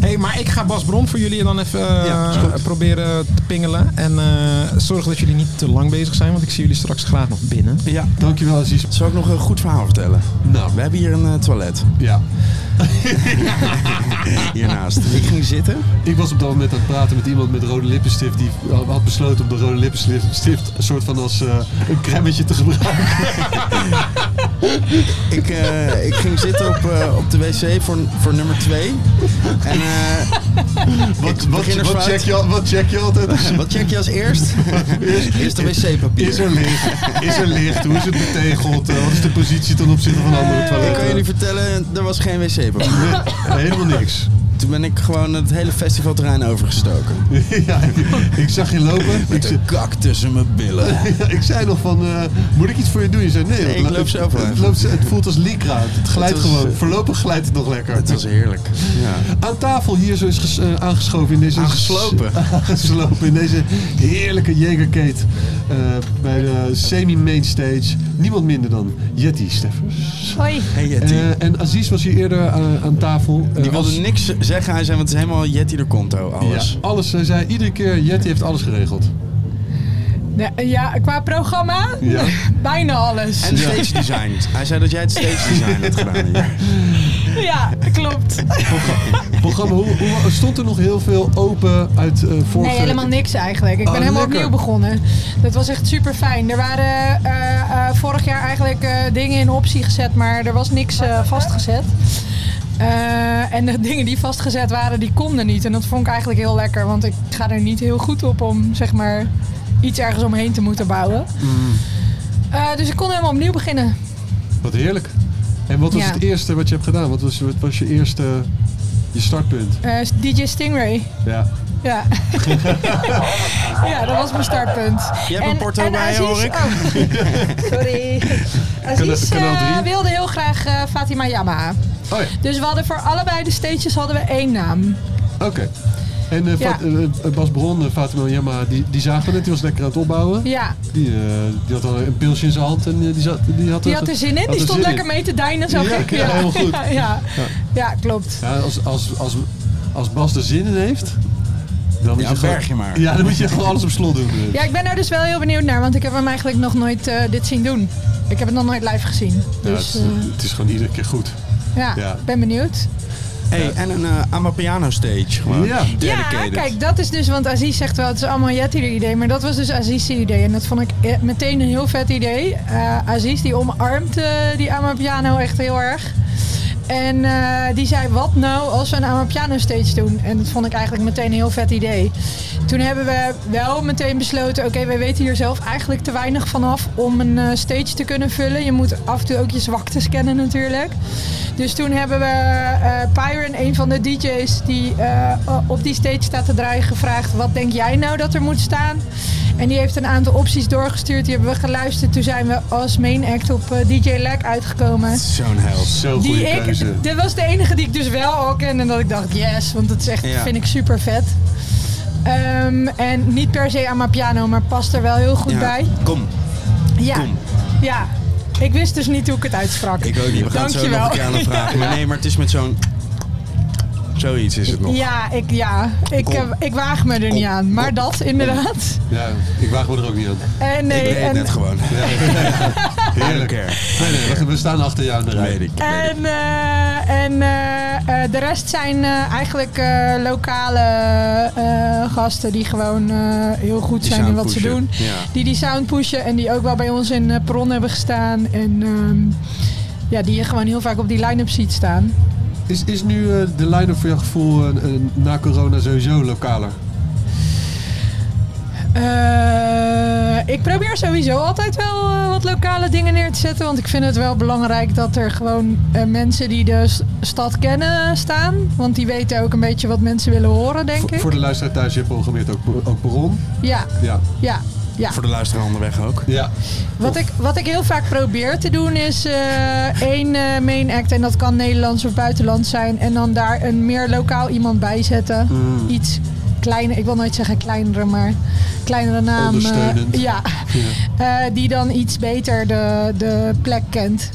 hey, maar ik ga Bas Bron voor jullie dan even eh,
Ja, is goed.
proberen te pingelen. En eh, zorg dat jullie niet te lang bezig zijn, want ik zie jullie straks graag nog binnen.
Ja.
Dankjewel Aziz.
Zal ik nog een goed verhaal vertellen?
Nou,
We hebben hier een eh, toilet.
ja.
Hiernaast. Ik ging zitten.
Ik was op dat moment aan het praten met iemand met rode lippenstift. Die had besloten om de rode lippenstift een soort van als eh, een cremmetje te gebruiken.
Ik, eh, ik ging zitten op, eh, op de wc voor, voor nummer 2. En eh,
Wat, wat,
beginnersfout.
wat, check, je, al- wat check je altijd? als je-
wat check je als eerst? Eerst de wc-papier.
Is er licht? Is er licht? Hoe is het betegeld? Eh, wat is de positie ten opzichte van andere
Ik kan jullie
toiletten?
vertellen, er was geen wc-papier.
Nee, helemaal niks.
Toen ben ik gewoon het hele festivalterrein overgestoken.
ja, ik, ik zag je lopen. Ik,
Met
ze-
een kak tussen mijn billen.
ja, ik zei nog van, eh, moet ik iets voor je doen? Je zei nee.
Nee, ik
het-
loop
het-
zelf wel
Het,
even.
loopt, het voelt als lycra. Het glijdt
Het was,
gewoon.
eh,
Voorlopig glijdt het nog lekker.
Het was heerlijk. Ja.
Aan tafel hier zo is ges- eh, aangeschoven in deze...
Aangeslopen.
aangeslopen in deze heerlijke Jägerkate. eh bij de semi-main stage. Niemand minder dan Jetty Steffers.
Hoi.
Hey Jetty.
Eh, en Aziz was hier eerder eh, aan tafel. Eh,
die wilde
als-
niks zeggen. Hij zei, want het is helemaal Jetty de Conto, alles.
Ja, alles. Hij zei iedere keer, Jetty heeft alles geregeld.
Ja, ja, qua programma?
Ja.
Bijna alles.
En stage design. Hij zei dat jij het stage design had gedaan hier.
Ja, klopt.
Programma, hoe, hoe- stond er nog heel veel open uit eh vorige...
Nee, helemaal niks eigenlijk. Ik ben
Oh,
helemaal
lekker.
opnieuw begonnen. Dat was echt super fijn. Er waren eh, eh, vorig jaar eigenlijk eh, dingen in optie gezet, maar er was niks eh, vastgezet. Eh, en de dingen die vastgezet waren, die konden niet. En dat vond ik eigenlijk heel lekker, want ik ga er niet heel goed op om zeg maar iets ergens omheen te moeten bouwen.
Mm.
Eh, dus ik kon helemaal opnieuw beginnen.
Wat heerlijk. En wat was
Ja.
het eerste wat je hebt gedaan? Wat was, wat was je eerste... Je startpunt?
Eh, DJ Stingray.
Ja.
Ja. ja, dat was mijn startpunt.
Je hebt een porto bij je, hoor ik.
oh, sorry. Aziz
kanaal
eh,
drie.
wilde heel graag eh, Fatima Yamaha.
Oh ja,
Dus we hadden voor allebei de stages hadden we één naam.
oké. En eh, Fat-
Ja.
eh, eh, Bas Bron, eh, Fatima Yama, die, die zagen we net. Die was lekker aan het opbouwen.
Ja,
Die, eh, die had al een pilsje in zijn hand en eh, die, zat, die had,
die had er zin in. Die stond lekker mee te dijnen, zag
Ja,
ik.
ja, helemaal goed.
Ja, ja. Ja, klopt.
Ja, als, als, als, als Bas er zin in heeft, dan moet
Ja,
je gewoon-
berg je maar.
Ja, dan moet je gewoon alles op slot doen.
Ja, ik ben er dus wel heel benieuwd naar, want ik heb hem eigenlijk nog nooit eh, dit zien doen. Ik heb het nog nooit live gezien.
Ja,
Dus
het,
eh,
het is gewoon iedere keer goed.
ja,
ja.
ben benieuwd.
Hey, en een eh Amapiano stage. Gewoon.
Ja.
Dedicated.
Ja, kijk, dat is dus, want Aziz zegt wel, het is allemaal Yeti idee, maar dat was dus Aziz's idee. En dat vond ik eh, meteen een heel vet idee. Eh Aziz die omarmt eh, die Amapiano echt heel erg. En eh, die zei, wat nou als we een Amapiano stage doen? En dat vond ik eigenlijk meteen een heel vet idee. Toen hebben we wel meteen besloten, oké, wij weten hier zelf eigenlijk te weinig vanaf om een eh, stage te kunnen vullen. Je moet af en toe ook je zwaktes kennen natuurlijk. Dus toen hebben we eh Pyron, een van de DJ's die eh, op die stage staat te draaien, gevraagd, wat denk jij nou dat er moet staan? En die heeft een aantal opties doorgestuurd, die hebben we geluisterd. Toen zijn we als main act op eh, DJ Lag uitgekomen.
Zo'n held.
Zo
Die
goede
ik,
keuze.
dit was de enige die ik dus wel al ken. En dat ik dacht, yes, want dat is echt,
Ja.
vind ik super vet. Ehm, en niet per se aan mijn piano, maar past er wel heel goed
Ja.
bij.
Kom,
Ja.
kom.
ja, ik wist dus niet hoe ik het uitsprak.
Ik ook niet. We gaan het zo nog
Dankjewel.
een keer aan hem vragen. Maar nee, maar het is met zo'n... Zoiets is het nog.
Ja, ik, ja. Ik,
Kom.
eh, ik waag me er niet aan. Maar dat inderdaad.
Ja, ik waag me er ook niet aan.
En,
ik
nee,
weet het
en,
net gewoon.
Heerlijk.
Oké.
Nee, nee, we- we staan achter jou in de
Dat
rij.
weet ik. dat weet ik.
En, eh, en eh, eh, de rest zijn eh, eigenlijk eh, lokale eh, gasten die gewoon eh, heel goed
Die
zijn in wat ze
sound
doen.
pushen. Ja.
Die die sound pushen en die ook wel bij ons in eh, Perron hebben gestaan. En ehm, ja, die je gewoon heel vaak op die line-up ziet staan.
Is, is nu eh, de line-up voor jouw gevoel eh, eh, na corona sowieso lokaler?
Eh, ik probeer sowieso altijd wel eh, wat lokale dingen neer te zetten. Want ik vind het wel belangrijk dat er gewoon eh, mensen die de s- stad kennen staan. Want die weten ook een beetje wat mensen willen horen, denk
Voor-
ik.
Voor de luisteraar thuis, je programmeert ook, ook Baron.
Ja,
Ja.
ja, ja.
Voor de luisteraar onderweg ook.
ja.
Wat ik, wat ik heel vaak probeer te doen is eh, één eh, main act en dat kan Nederlands of buitenlands zijn. En dan daar een meer lokaal iemand bij zetten.
Hmm.
Iets kleiner, ik wil nooit zeggen kleinere, maar kleinere naam. eh,
Ondersteunend.
ja, Eh, die dan iets beter de, de plek kent.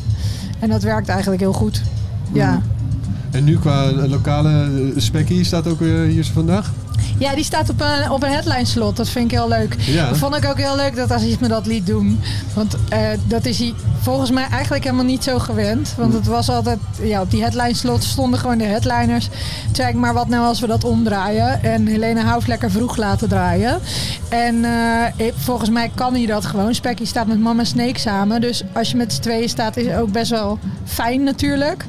En dat werkt eigenlijk heel goed. Ja.
Hmm. En nu qua eh, lokale eh, spekkie staat ook weer hier zo vandaag.
ja, die staat op een, op een headline slot. Dat vind ik heel leuk.
Ja.
Dat vond ik ook heel leuk dat Aziz me dat liet doen. Want eh, dat is hij volgens mij eigenlijk helemaal niet zo gewend. Want het was altijd, ja, op die headline slot stonden gewoon de headliners. Toen zei ik, maar wat nou als we dat omdraaien? En Helena Houf lekker vroeg laten draaien. En eh, ik- volgens mij kan hij dat gewoon. Spekkie staat met Mama Snake samen. Dus als je met z'n tweeën staat, is het ook best wel fijn natuurlijk.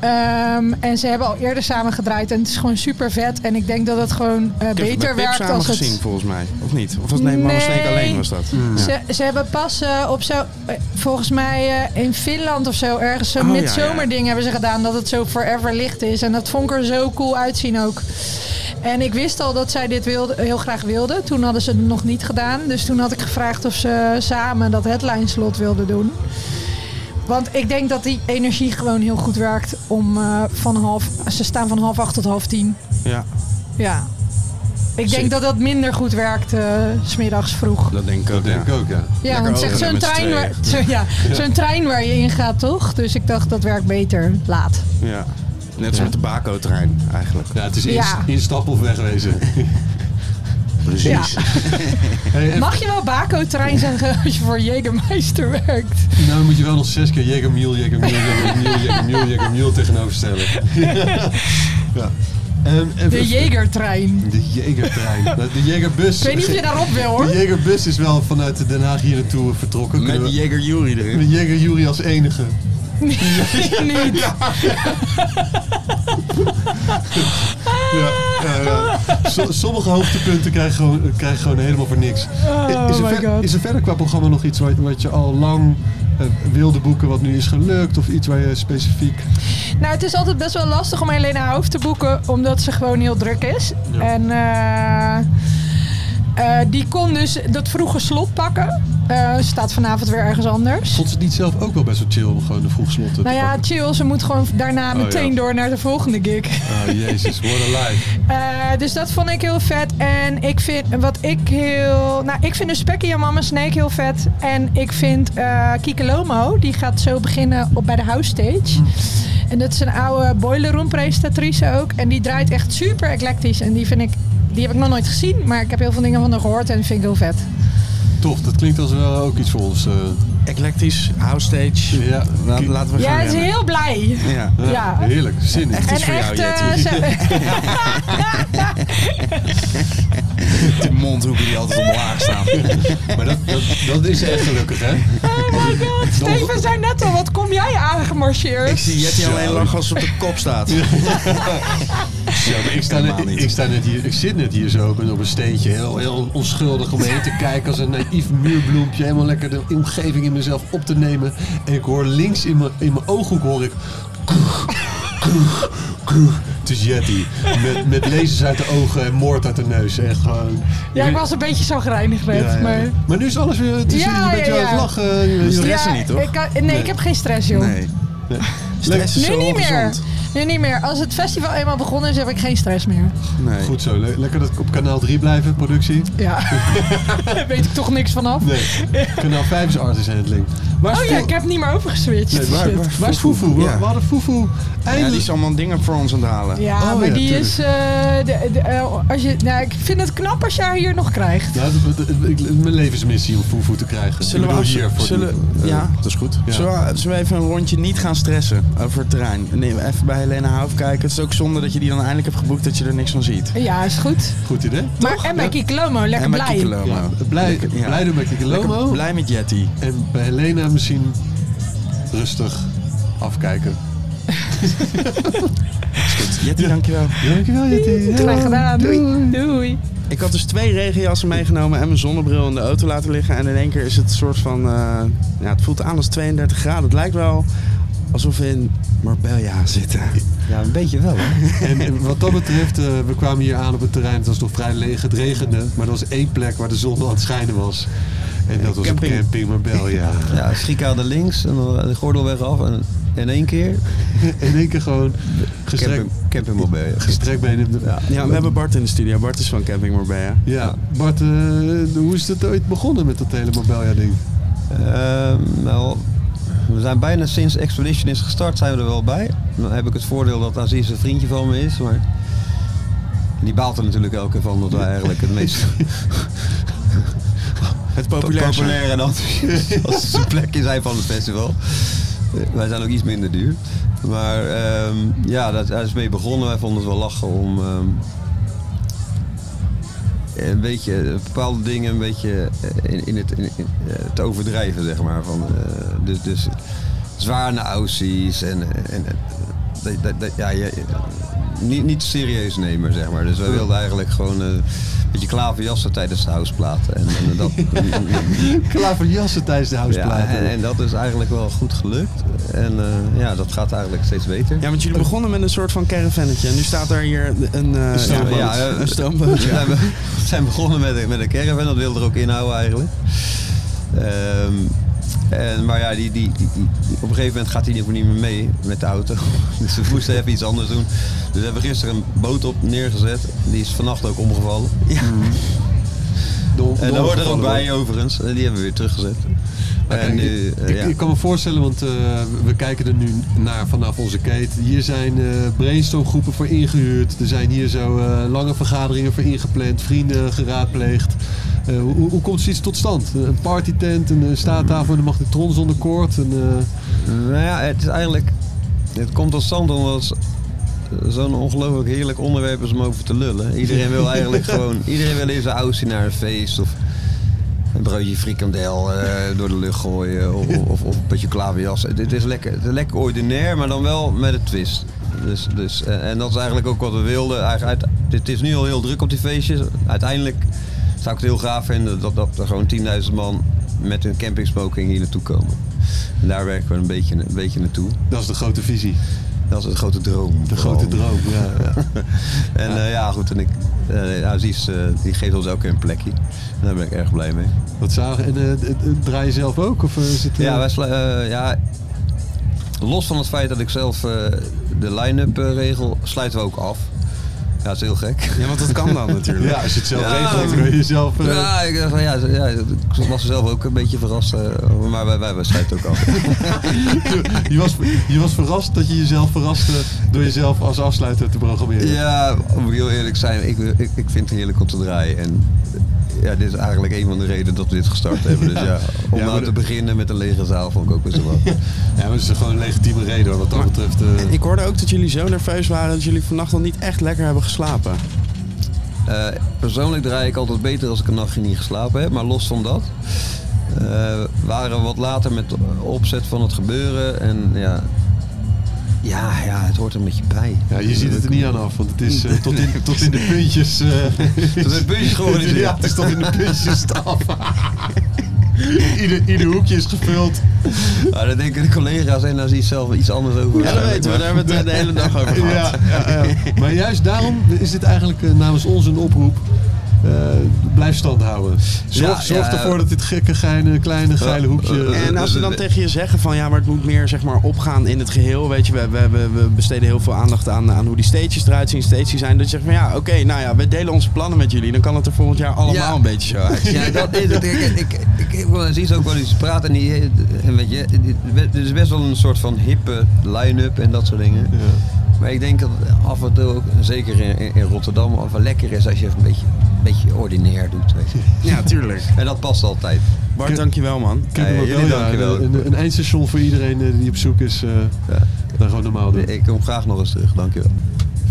Ehm, en ze hebben al eerder samen gedraaid. En het is gewoon super vet. En ik denk dat het gewoon eh,
Ik heb het
beter
bij Pip
werkt
samen
als het...
gezien, volgens mij. Of niet? Of was nee, Mama
Nee.
Snake alleen was dat? Ja.
Ze, ze hebben pas eh, op zo, eh, volgens mij eh, in Finland of zo, ergens zo'n
Oh, ja, ja.
midzomerding hebben ze gedaan. Dat het zo forever licht is. En dat vond ik er zo cool uitzien ook. En ik wist al dat zij dit wilde, heel graag wilden. Toen hadden ze het nog niet gedaan. Dus toen had ik gevraagd of ze samen dat headline slot wilden doen. Want ik denk dat die energie gewoon heel goed werkt om eh, van half. Ze staan van half acht tot half tien.
Ja,
Ja. Ik
Zeker.
denk dat dat minder goed werkt eh, s smiddags vroeg.
dat denk ik
Dat
ook.
denk
ja.
ik ook, ja.
Ja,
Lekker
want het is echt
hoger
zo'n
met z'n
trein, waar,
tweeën.
zo, ja, zo'n trein waar je in gaat, toch? Dus ik dacht, dat werkt beter laat.
Ja. Net als met de Baco-trein eigenlijk.
Ja, het is inst-
Ja.
instappen of wegwezen.
Precies.
Hey, en-
Mag je wel Baco-trein zeggen als je voor Jägermeister werkt?
Nou moet je wel nog zes keer Jegermiel, Jegermiel, Jegermiel, Jegermiel, Jegermiel tegenover stellen. ja. Ehm, En, en,
De Jägertrein.
de Jegertrein. Nou, De Jegerbus.
Ik weet niet of je daarop wil, hoor.
De Jegerbus is wel vanuit Den Haag hier naartoe vertrokken.
Met
Kunnen
die
we-
Jäger Jury erin.
Met Jeger Jury als enige.
niet.
Ja, ja, ja. So- sommige hoogtepunten krijgen gewoon, krijgen gewoon helemaal voor niks.
Oh
is, er
my
ver-
God.
is er verder qua programma nog iets wat, wat je al lang eh, wilde boeken, wat nu is gelukt? Of iets waar je specifiek...
Nou, het is altijd best wel lastig om Helena Hoofd te boeken, omdat ze gewoon heel druk is. En eh, eh, die kon dus dat vroege slot pakken. Eh, ze staat vanavond weer ergens anders.
Vond ze het niet zelf ook wel best wel chill om gewoon de vroeg slot te
Nou ja,
pakken?
chill, ze moet gewoon daarna
Oh, ja.
meteen door naar de volgende gig.
Oh, jezus, what a life.
Eh, dus dat vond ik heel vet. En ik vind wat ik heel. Nou, ik vind de Spekkie en Mama Snake heel vet. En ik vind eh Kike Lomo, die gaat zo beginnen op bij de house stage. En dat is een oude boiler room presentatrice ook. En die draait echt super eclectisch. En die vind ik. Die heb ik nog nooit gezien, maar ik heb heel veel dingen van haar gehoord en vind ik heel vet.
Tof, dat klinkt als wel ook iets voor ons. eh.
Eclectisch, house stage.
Ja.
La- laten we gaan
Ja, ze is
rennen.
heel blij.
Ja.
ja,
Ja. eh,
Heerlijk, zin in.
Echt
En
iets voor jou,
echt, eh,
Jetty.
ze-
Die mondhoeken die altijd omlaag staan.
Maar dat, dat, dat is echt gelukkig, hè?
Oh my god, Steven zei net al, wat kom jij
Ik
aangemarcheerd?
zie Jetty alleen lachen als ze op de kop staat.
Ik sta,
Helemaal
net,
niet.
ik, sta net hier, ik zit net hier zo op een, op een steentje, heel, heel onschuldig om heen te kijken als een naïef muurbloempje. Helemaal lekker de omgeving in mezelf op te nemen. En ik hoor links in mijn, in mijn ooghoek hoor ik... kroeg, kroeg, kroeg. Het is Yeti. Met, met lasers uit de ogen en moord uit de neus. Echt gewoon...
Ja, ik was een beetje zo gereinigd
Ja,
net,
ja, ja.
maar...
Maar nu is alles weer... Het is,
Ja,
je bent
ja,
weer aan het
ja.
lachen. eh, je- je-
Dus Stress er niet, toch?
Ik kan- nee, ik heb geen stress, joh.
Nee. Stress is
Nu
zo
niet meer.
ongezond.
Nu niet meer. Als het festival eenmaal begonnen is, heb ik geen stress meer.
Nee.
Goed zo. le- lekker dat ik op kanaal 3 blijven, productie.
Ja. Daar weet ik toch niks vanaf.
Nee. Kanaal 5 is Artis Handling. Waar is
Oh ja,
Foo-
ik heb niet meer overgeswitcht.
Nee, waar,
Shit.
waar, waar is Fufu? We-
Ja.
We hadden Fufu
Ja, die is
eindelijk...
allemaal dingen voor ons aan het halen.
Ja,
Oh
maar
ja,
die
tuurlijk.
is... eh, de, de- eh, als je, nou, ik vind het knap als jij haar hier nog krijgt.
Ja, dat- dat- dat- ik- mijn levensmissie om Fufu te krijgen.
Zullen
ik
we,
bedoel
af-
hier voor
zullen,
de- eh,
ja, dat is goed.
Ja.
Zullen, we, zullen we even een rondje niet gaan stressen over het terrein? Nee, even bij Helena Houf kijken. Het is ook zonde dat je die dan eindelijk hebt geboekt dat je er niks van ziet.
Ja, is goed.
Goed idee.
Maar en bij Kiklomo, lekker
en met
blij.
Kikelomo.
Ja, blij,
Lekker, ja.
blij doen met
Lekker
Kikelomo.
Blij met Jetty.
En bij Helena misschien rustig afkijken.
Jetty, dankjewel.
Dankjewel, Jetty.
Graag gedaan. Doei. Doei.
Ik had dus twee regenjassen meegenomen en mijn zonnebril in de auto laten liggen. En in één keer is het een soort van... eh, ja, het voelt aan als 32 graden. Het lijkt wel alsof we in Marbella zitten.
Ja, een beetje wel, hè?
En, en wat dat betreft, eh, we kwamen hier aan op het terrein. Het was nog vrij leeg, het regende. Maar er was één plek waar de zon aan het schijnen was. En dat was
Camping.
op camping Marbella.
Ja, schikhouder links en dan de gordelweg af en in één keer
In één keer gewoon gestrekt,
camping, campingmobile.
gestrekt benen. Ja.
Ja, we hebben Bart in de studio. Bart is van Camping Marbella.
Ja, Bart, eh, hoe is het ooit begonnen met dat hele Marbella-ding?
Ehm, nou, we zijn bijna sinds Expedition is gestart zijn we er wel bij. Dan heb ik het voordeel dat Aziz een vriendje van me is, maar die baalt er natuurlijk elke keer van dat wij eigenlijk het meest
Het populair zijn.
populair en enthousiaste plekje zijn van het festival. Eh, Wij zijn ook iets minder duur. Maar ehm, ja, daar daar is mee begonnen. Wij vonden het wel lachen om ehm, een beetje eh, bepaalde dingen een beetje eh, in, in het, in, in, eh, te overdrijven, zeg maar. Van, eh, dus, dus zwaar naar aussies en, eh, en eh, dat, dat, dat- ja, je- niet, niet serieus nemen, zeg maar. Dus wij wilden eigenlijk gewoon eh, een beetje klaverjassen tijdens de houseplaten. En, en dat,
Klaverjassen tijdens de
ja,
houseplaten.
en, en dat is eigenlijk wel goed gelukt. En eh, ja, dat gaat eigenlijk steeds beter.
Ja, want jullie begonnen met een soort van caravannetje. En nu staat daar hier een, eh
stoomboot.
Ja, ja,
eh,
een stoomboot.
We zijn, be- we zijn begonnen met, een- met een caravan, dat wilde er ook inhouden eigenlijk. Ehm, en, maar ja, die, die, die, die- op een gegeven moment gaat hij in ieder geval niet meer mee met de auto. Dus we moesten even iets anders doen. Dus we hebben gisteren een boot op neergezet. Die is vannacht ook omgevallen.
Door-
En daar hoort er ook
doorgevallen
bij
wordt.
overigens. En die hebben we weer teruggezet.
Maar
En
kijk,
nu, eh,
ik,
ja.
ik kan me voorstellen, want eh, we kijken er nu naar vanaf onze keten. Hier zijn eh, brainstormgroepen voor ingehuurd. Er zijn hier zo eh, lange vergaderingen voor ingepland. Vrienden geraadpleegd. Eh, hoe, hoe komt zoiets tot stand? Een partytent, een eh, staattafel en een magnetron zonder koord. Een, eh,
Nou ja, het is eigenlijk. Het komt tot stand omdat het zo'n ongelooflijk heerlijk onderwerp is om over te lullen. Iedereen wil eigenlijk gewoon. Iedereen wil even zijn oudste naar een feest of. Een broodje frikandel eh, door de lucht gooien of, of, of een beetje klaverjas. Het, het is lekker, het is lekker ordinair, maar dan wel met een twist. Dus, dus, eh, en dat is eigenlijk ook wat we wilden. Eigenlijk uit- het is nu al heel druk op die feestjes. Uiteindelijk zou ik het heel gaaf vinden dat, dat er gewoon 10.000 man met hun campingsmoking hier naartoe komen. En daar werken we een beetje, een beetje naartoe.
dat is de grote visie.
Dat is een grote droom.
De grote droom. Ja.
En eh, ja, goed. En ik, eh, Aziz eh, die geeft ons ook een plekje. En daar ben ik erg blij mee.
Wat zagen. En eh, d- d- draai je zelf ook? Of, eh, is het, eh,
Ja, wij sla- eh, ja, los van het feit dat ik zelf eh, de line-up eh, regel, sluiten we ook af. Ja, dat is heel gek.
Ja, want dat kan dan natuurlijk.
Ja, als je het zelf
Ja.
regelt, kun je jezelf... eh,
Ja, ik, dacht van, ja, ja, ik was zelf ook een beetje verrast, eh, maar wij, wij, wij sluiten ook af.
Je was, je was verrast dat je jezelf verraste door jezelf als afsluiter te programmeren.
Ja, om heel eerlijk te zijn, ik, ik, ik vind het heerlijk om te draaien. En ja, dit is eigenlijk een van de redenen dat we dit gestart hebben. Dus ja, om
Ja, maar
nou te
de-
beginnen met een lege zaal vond ik ook best wel wat.
Ja, maar het is gewoon een legitieme reden hoor, wat dat betreft. eh.
Ik hoorde ook dat jullie zo nerveus waren dat jullie vannacht al niet echt lekker hebben geslapen.
Eh, persoonlijk draai ik altijd beter als ik een nachtje niet geslapen heb, maar los van dat. eh, waren we wat later met opzet van het gebeuren en ja. Ja, ja, het hoort er een beetje bij.
Ja, je ziet het er niet aan af, want het is eh, tot, in, tot in de puntjes. eh
Tot in de puntjes georganiseerd.
Ja, het is tot in de puntjes af. ieder, ieder hoekje is gevuld.
Nou, dan denken de collega's en daar zie je zelf iets anders over.
Ja, dat weten we. Daar hebben we het de hele dag over gehad.
Ja, ja, ja. Maar juist daarom is dit eigenlijk eh, namens ons een oproep. eh, blijf stand houden. Zorg,
Ja,
zorg
ja,
ervoor dat dit gekke, geine, kleine, geile hoekje... eh,
En als ze dan tegen je zeggen van ja, maar het moet meer zeg maar opgaan in het geheel. Weet je, we, we, we we besteden heel veel aandacht aan, aan hoe die stages eruit zien, stages die zijn. Dat je zegt van ja, oké, nou ja, we delen onze plannen met jullie. Dan kan het er volgend jaar allemaal
Ja.
een beetje zo uit.
Ja, dat is het. Ik, ik, ik, ik wil eens iets ook wel eens praten. En die, en weet je, dit- dit is best wel een soort van hippe line-up en dat soort dingen. Maar ik denk dat af en toe, ook, zeker in, in Rotterdam, af en toe lekker is als je een beetje, een beetje ordinair doet. Weet je.
Ja, tuurlijk.
En dat past altijd.
Bart, dankjewel man.
Kijk
Ja,
maar wel,
jullie
ja,
dankjewel.
Een, een eindstation voor iedereen eh, die op zoek is. eh
Ja.
Dan gewoon normaal doen.
Ik kom graag nog eens terug, dankjewel.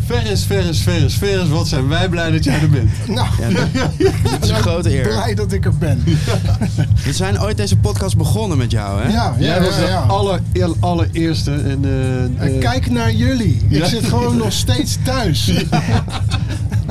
Ferris, Ferris, Ferris, Ferris. Wat zijn wij blij dat jij er bent.
Nou,
Het is een grote eer.
blij dat ik er ben.
We zijn ooit deze podcast begonnen met jou, hè?
Ja, ja,
Jij was
ja.
de
ja.
aller, eer- allereerste. En, eh,
Oh.
En
eh,
kijk naar jullie. Ik
Ja.
zit gewoon nog steeds thuis.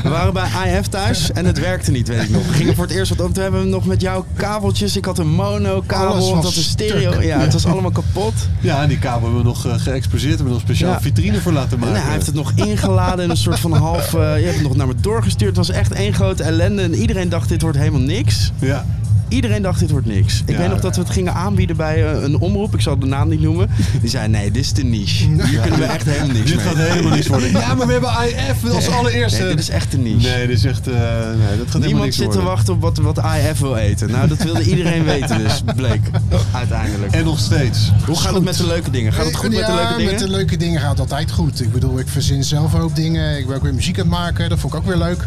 We waren bij IF thuis en het werkte niet, weet ik nog. We gingen voor het eerst wat op. Toen hebben we nog met jou kabeltjes. Ik had een
Alles
mono-kabel,
was
dat een stereo.
stuk.
Ja, het was allemaal kapot.
Ja, en die kabel hebben we nog eh, geëxposeerd. Hebben we nog speciaal
Ja.
vitrine voor laten maken.
Nou, hij heeft het nog ingeladen in een soort van half... eh, je hebt het nog naar me doorgestuurd. Het was echt één grote ellende. En iedereen dacht, dit wordt helemaal niks.
Ja.
Iedereen dacht, dit wordt niks. Ik
Ja.
weet nog dat we het gingen aanbieden bij eh, een omroep. Ik zal de naam niet noemen. Die zei, nee, dit is de niche. Hier kunnen we echt helemaal niks
Dit
mee.
gaat helemaal niks worden. Ja, maar we hebben IF als allereerste.
Nee, dit is echt de niche.
Nee, dit is echt... eh, nee, dat gaat helemaal
Niemand
niks
zit te
worden.
wachten op wat, wat AF wil eten. Nou, dat wilde iedereen weten dus, bleek. Uiteindelijk.
En nog steeds.
Hoe gaat het met de leuke dingen? Gaat het goed met de
Ja,
leuke dingen?
met de leuke dingen gaat altijd goed. Ik bedoel, ik verzin zelf een hoop dingen. Ik ben ook weer muziek aan het maken. Dat vond ik ook weer leuk.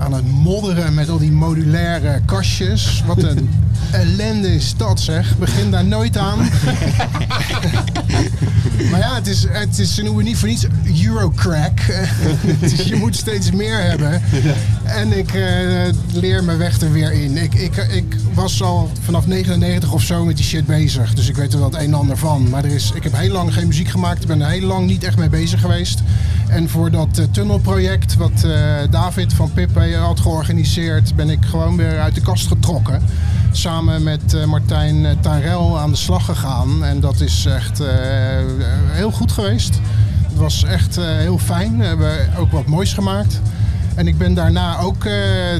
Aan het modderen met al die modulaire kastjes. Wat een ellende is dat zeg. Begin daar nooit aan. maar ja, het is, het is ze noemen het niet voor niets Eurocrack. Dus je moet steeds meer hebben. En ik eh, leer mijn weg er weer in. Ik, ik, ik was al vanaf 99 of zo met die shit bezig. Dus ik weet er wel het een en ander van. Maar er is, ik heb heel lang geen muziek gemaakt. Ik ben er heel lang niet echt mee bezig geweest. En voor dat eh, tunnelproject wat eh, David van Pippe had georganiseerd... ben ik gewoon weer uit de kast getrokken. Samen met eh, Martijn eh, Tarel aan de slag gegaan. En dat is echt eh, heel goed geweest. Het was echt eh, heel fijn. We hebben ook wat moois gemaakt. En ik ben daarna ook eh,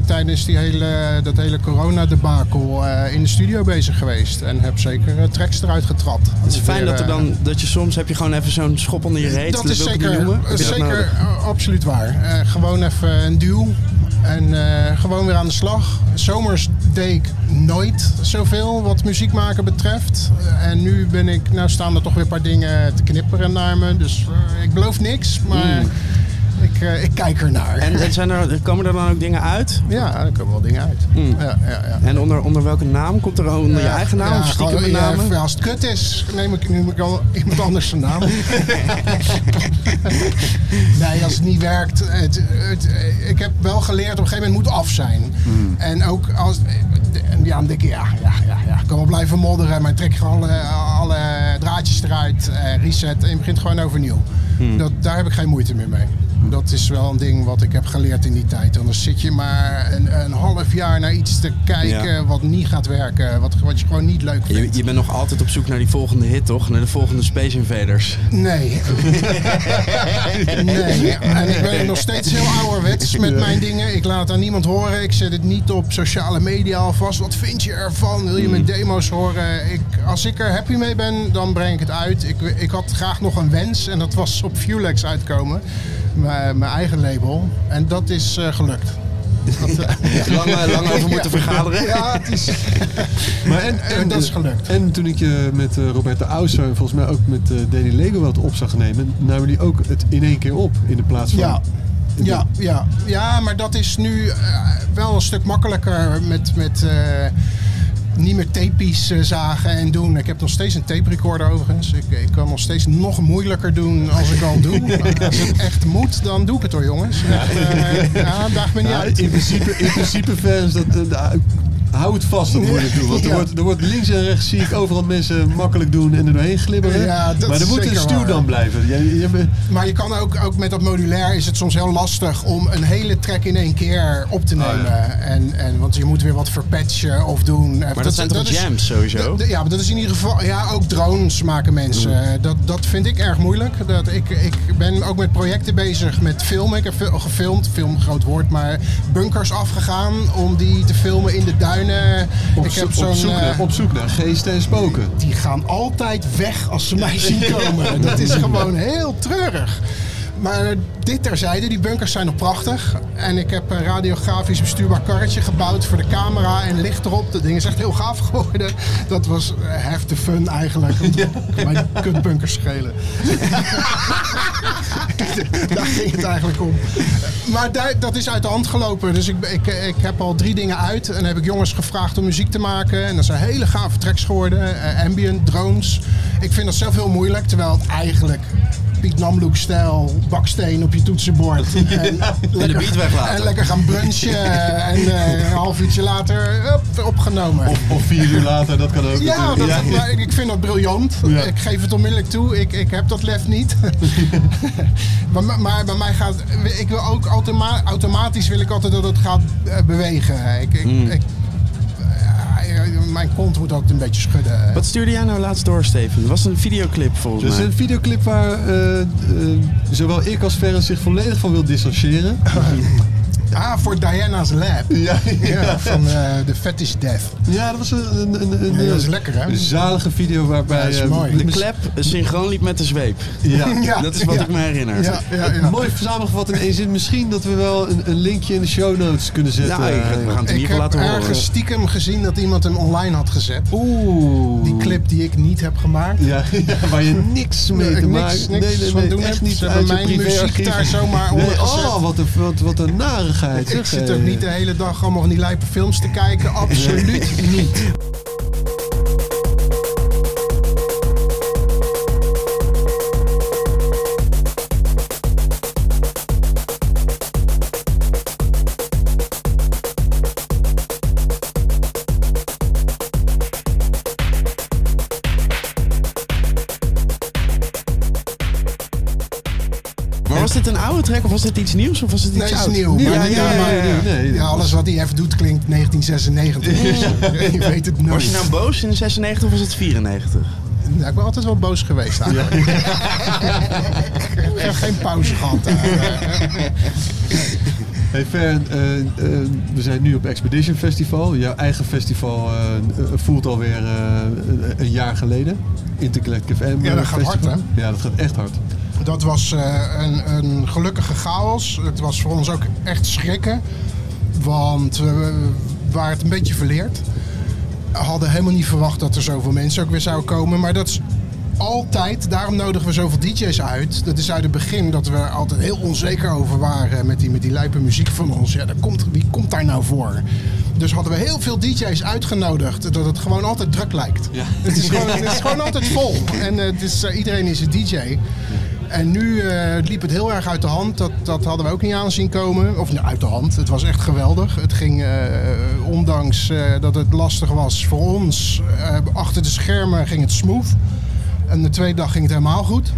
tijdens die hele, dat hele coronadebakel eh in de studio bezig geweest. En heb zeker eh, tracks eruit getrapt.
Het is fijn
eh,
dat, er dan, dat je soms heb je gewoon even zo'n schop onder je reet.
dat is
wil ik het niet
zeker,
noemen. Heb je dat
zeker
nodig?
eh, absoluut waar. Eh, gewoon even een duw en eh, gewoon weer aan de slag. Zomers deed ik nooit zoveel wat muziek maken betreft. Eh, en nu ben ik, nou staan er toch weer een paar dingen te knipperen naar me. Dus eh, ik beloof niks, maar ik, eh, ik kijk ernaar.
Mm. En, en zijn er, komen er dan ook dingen uit?
Ja, er komen wel dingen uit.
Mm.
Ja, ja, ja.
En onder, onder welke naam? Komt er onder je eigen naam
Ja,
of stiekem
gewoon,
een
ja,
naam?
als het kut is, neem ik, neem ik al iemand anders zijn naam. nee, als het niet werkt. Het, het, ik heb wel geleerd, op een gegeven moment moet af zijn.
Hmm.
En ook als... en Ja, dan denk ik, ja, ja, ja, ja. Ik kan wel blijven modderen, maar trek gewoon alle, alle draadjes eruit, eh, reset en je begint gewoon overnieuw.
Hmm.
Dat, daar heb ik geen moeite meer mee. Dat is wel een ding wat ik heb geleerd in die tijd. Anders zit je maar een, een half jaar naar iets te kijken wat niet gaat werken. Wat, wat je gewoon niet leuk vindt.
Je, je bent nog altijd op zoek naar die volgende hit, toch? Naar de volgende Space Invaders.
Nee. nee. En ik ben nog steeds heel ouderwets met mijn dingen. Ik laat aan niemand horen. Ik zet het niet op sociale media alvast. Wat vind je ervan? Wil
Hmm.
je mijn demo's horen? Ik, als ik er happy mee ben, dan breng ik het uit. Ik, ik had graag nog een wens. En dat was op Vulex uitkomen. Mijn, mijn eigen label. En dat is eh, gelukt.
Lang, eh, lang over moeten vergaderen.
Ja, het is,
Maar en,
En dat is gelukt.
En toen ik je met eh Roberta Ouser en volgens mij ook met eh Danny Lego wat op zag nemen... namen die ook het in één keer op in de plaats van...
Ja. Ja, ja. ja, maar dat is nu eh, wel een stuk makkelijker met, met eh, niet meer tapepies eh, zagen en doen. Ik heb nog steeds een tape recorder overigens. Ik, ik kan nog steeds nog moeilijker doen als ik al doe. Maar als het echt moet, dan doe ik het hoor jongens. Echt, eh, ja, daag me niet
Ja,
uit.
Nou, in, principe, in principe fans, dat, eh, nou, hou het vast dat moet je het doen. Want er,
Ja.
wordt, er wordt links en rechts zie ik overal mensen makkelijk doen en er doorheen glibberen.
Ja, dat
maar er
is
moet een
zeker
stuw
waar.
dan blijven. Jij, jij bent-
Maar je kan ook, ook met dat modulair is het soms heel lastig om een hele track in één keer op
Oh,
te nemen. en, en, want je moet weer wat verpatchen of doen.
Maar dat, zijn toch jams sowieso?
D- d- ja, maar dat is in ieder geval. Ja, ook drones maken mensen. Eh, Dat, dat vind ik erg moeilijk. Dat ik, ik ben ook met projecten bezig met filmen. Ik heb veel gefilmd, film groot woord, maar bunkers afgegaan om die te filmen in de duinen.
op,
ik
zo-
heb
op, zoek
zo'n. eh,
naar, op zoek naar geesten en spoken.
die gaan altijd weg als ze mij zien komen. Dat is gewoon heel treurig. Maar dit terzijde, die bunkers zijn nog prachtig. En ik heb een radiografisch bestuurbaar karretje gebouwd voor de camera en licht erop. Dat ding is echt heel gaaf geworden. Dat was eh, have the fun eigenlijk. Mijn kutbunkers schelen. Daar ging het eigenlijk om. Maar daar, dat is uit de hand gelopen. Dus ik, ik, ik heb al drie dingen uit. En heb ik jongens gevraagd om muziek te maken. En dat zijn hele gave tracks geworden. Eh, ambient, drones. Ik vind dat zelf heel moeilijk. Terwijl het eigenlijk Piet Namloek-stijl, baksteen op je toetsenbord. En, lekker,
beat weglaten.
en lekker gaan brunchen. en eh, een half uurtje later hop, opgenomen.
Of, of vier uur later, dat kan ook.
Ja, dat,
natuurlijk. ja.
maar ik- ik vind dat briljant.
Ja.
Ik geef het onmiddellijk toe. Ik, ik heb dat lef niet. maar, maar- maar bij mij gaat... Ik wil ook automa- automatisch wil ik altijd dat het gaat eh, bewegen. Ik, ik, ik- eh, mijn kont moet ook een beetje schudden.
Wat stuurde jij nou laatst door, Steven? Dat was een videoclip volgens
Dus
mij.
een videoclip waar eh, eh, zowel ik als Ferris zich volledig van wil distancieren.
Ah, voor Diana's Lab.
Ja,
Ja, van eh, de Fetish Death.
ja dat was een, een, een, een,
Ja, dat is lekker, hè?
zalige video waarbij...
Ja, dat is
eh,
mooi.
De klep synchroon liep met de zweep.
Ja,
Ja.
Dat is wat
Ah, Ja.
ik me herinner.
Ja, ja, ja.
Mooi samengevat in één zin. Misschien dat we wel een, een linkje in de show notes kunnen zetten.
Nou, ik- we gaan het in
Ik
ieder geval
heb
laten horen.
ergens stiekem gezien dat iemand hem online had gezet.
Oeh.
Die clip die ik niet heb gemaakt.
Ja, ja, waar je niks mee
Nee,
te
niks,
maken
niks van doen
echt
hebt.
niet
Ze
uit je
hebben mijn muziek
privéarchief.
daar zomaar
nee,
onder gezet.
Oh, wat een, wat, wat een narigheid.
Ik
zeg, Eh,
zit
hé.
ook niet de hele dag allemaal van die lijpe films te kijken. Absoluut niet.
Maar was dit een oude track of was dit iets nieuws of was het iets
Nee, het is
ouds?
nieuw.
Ja,
maar-
ja,
ja,
ja,
maar-
ja, nee.
Ja, alles wat hij even doet klinkt 1996. Je weet het nooit.
Was je nou boos in 96 of was het 94?
Nou, ik ben altijd wel boos geweest eigenlijk. ik heb geen pauze gehad. eigenlijk.
Hey Fern, eh, eh, we zijn nu op Expedition Festival. Jouw eigen festival eh, eh, voelt alweer eh, een, een jaar geleden. Intergalactic FM.
Ja, dat
eh,
gaat
festival.
hard,
Ja, dat gaat echt hard.
Dat was eh, een, een gelukkige chaos. Het was voor ons ook echt schrikken. Want we waren het een beetje verleerd. Hadden helemaal niet verwacht dat er zoveel mensen ook weer zouden komen. Maar dat is altijd, daarom nodigen we zoveel DJ's uit. Dat is uit het begin dat we er altijd heel onzeker over waren met die, met die lijpe muziek van ons. Ja, daar komt, wie komt daar nou voor? Dus hadden we heel veel DJ's uitgenodigd, dat het gewoon altijd druk lijkt. Het, is gewoon, het is gewoon altijd vol. En eh, het is, eh, iedereen is een DJ. En nu eh, liep het heel erg uit de hand. Dat, dat hadden we ook niet aan zien komen. Of nou, uit de hand. Het was echt geweldig. Het ging, eh, ondanks eh, dat het lastig was voor ons, eh, achter de schermen ging het smooth. En de tweede dag ging het helemaal goed.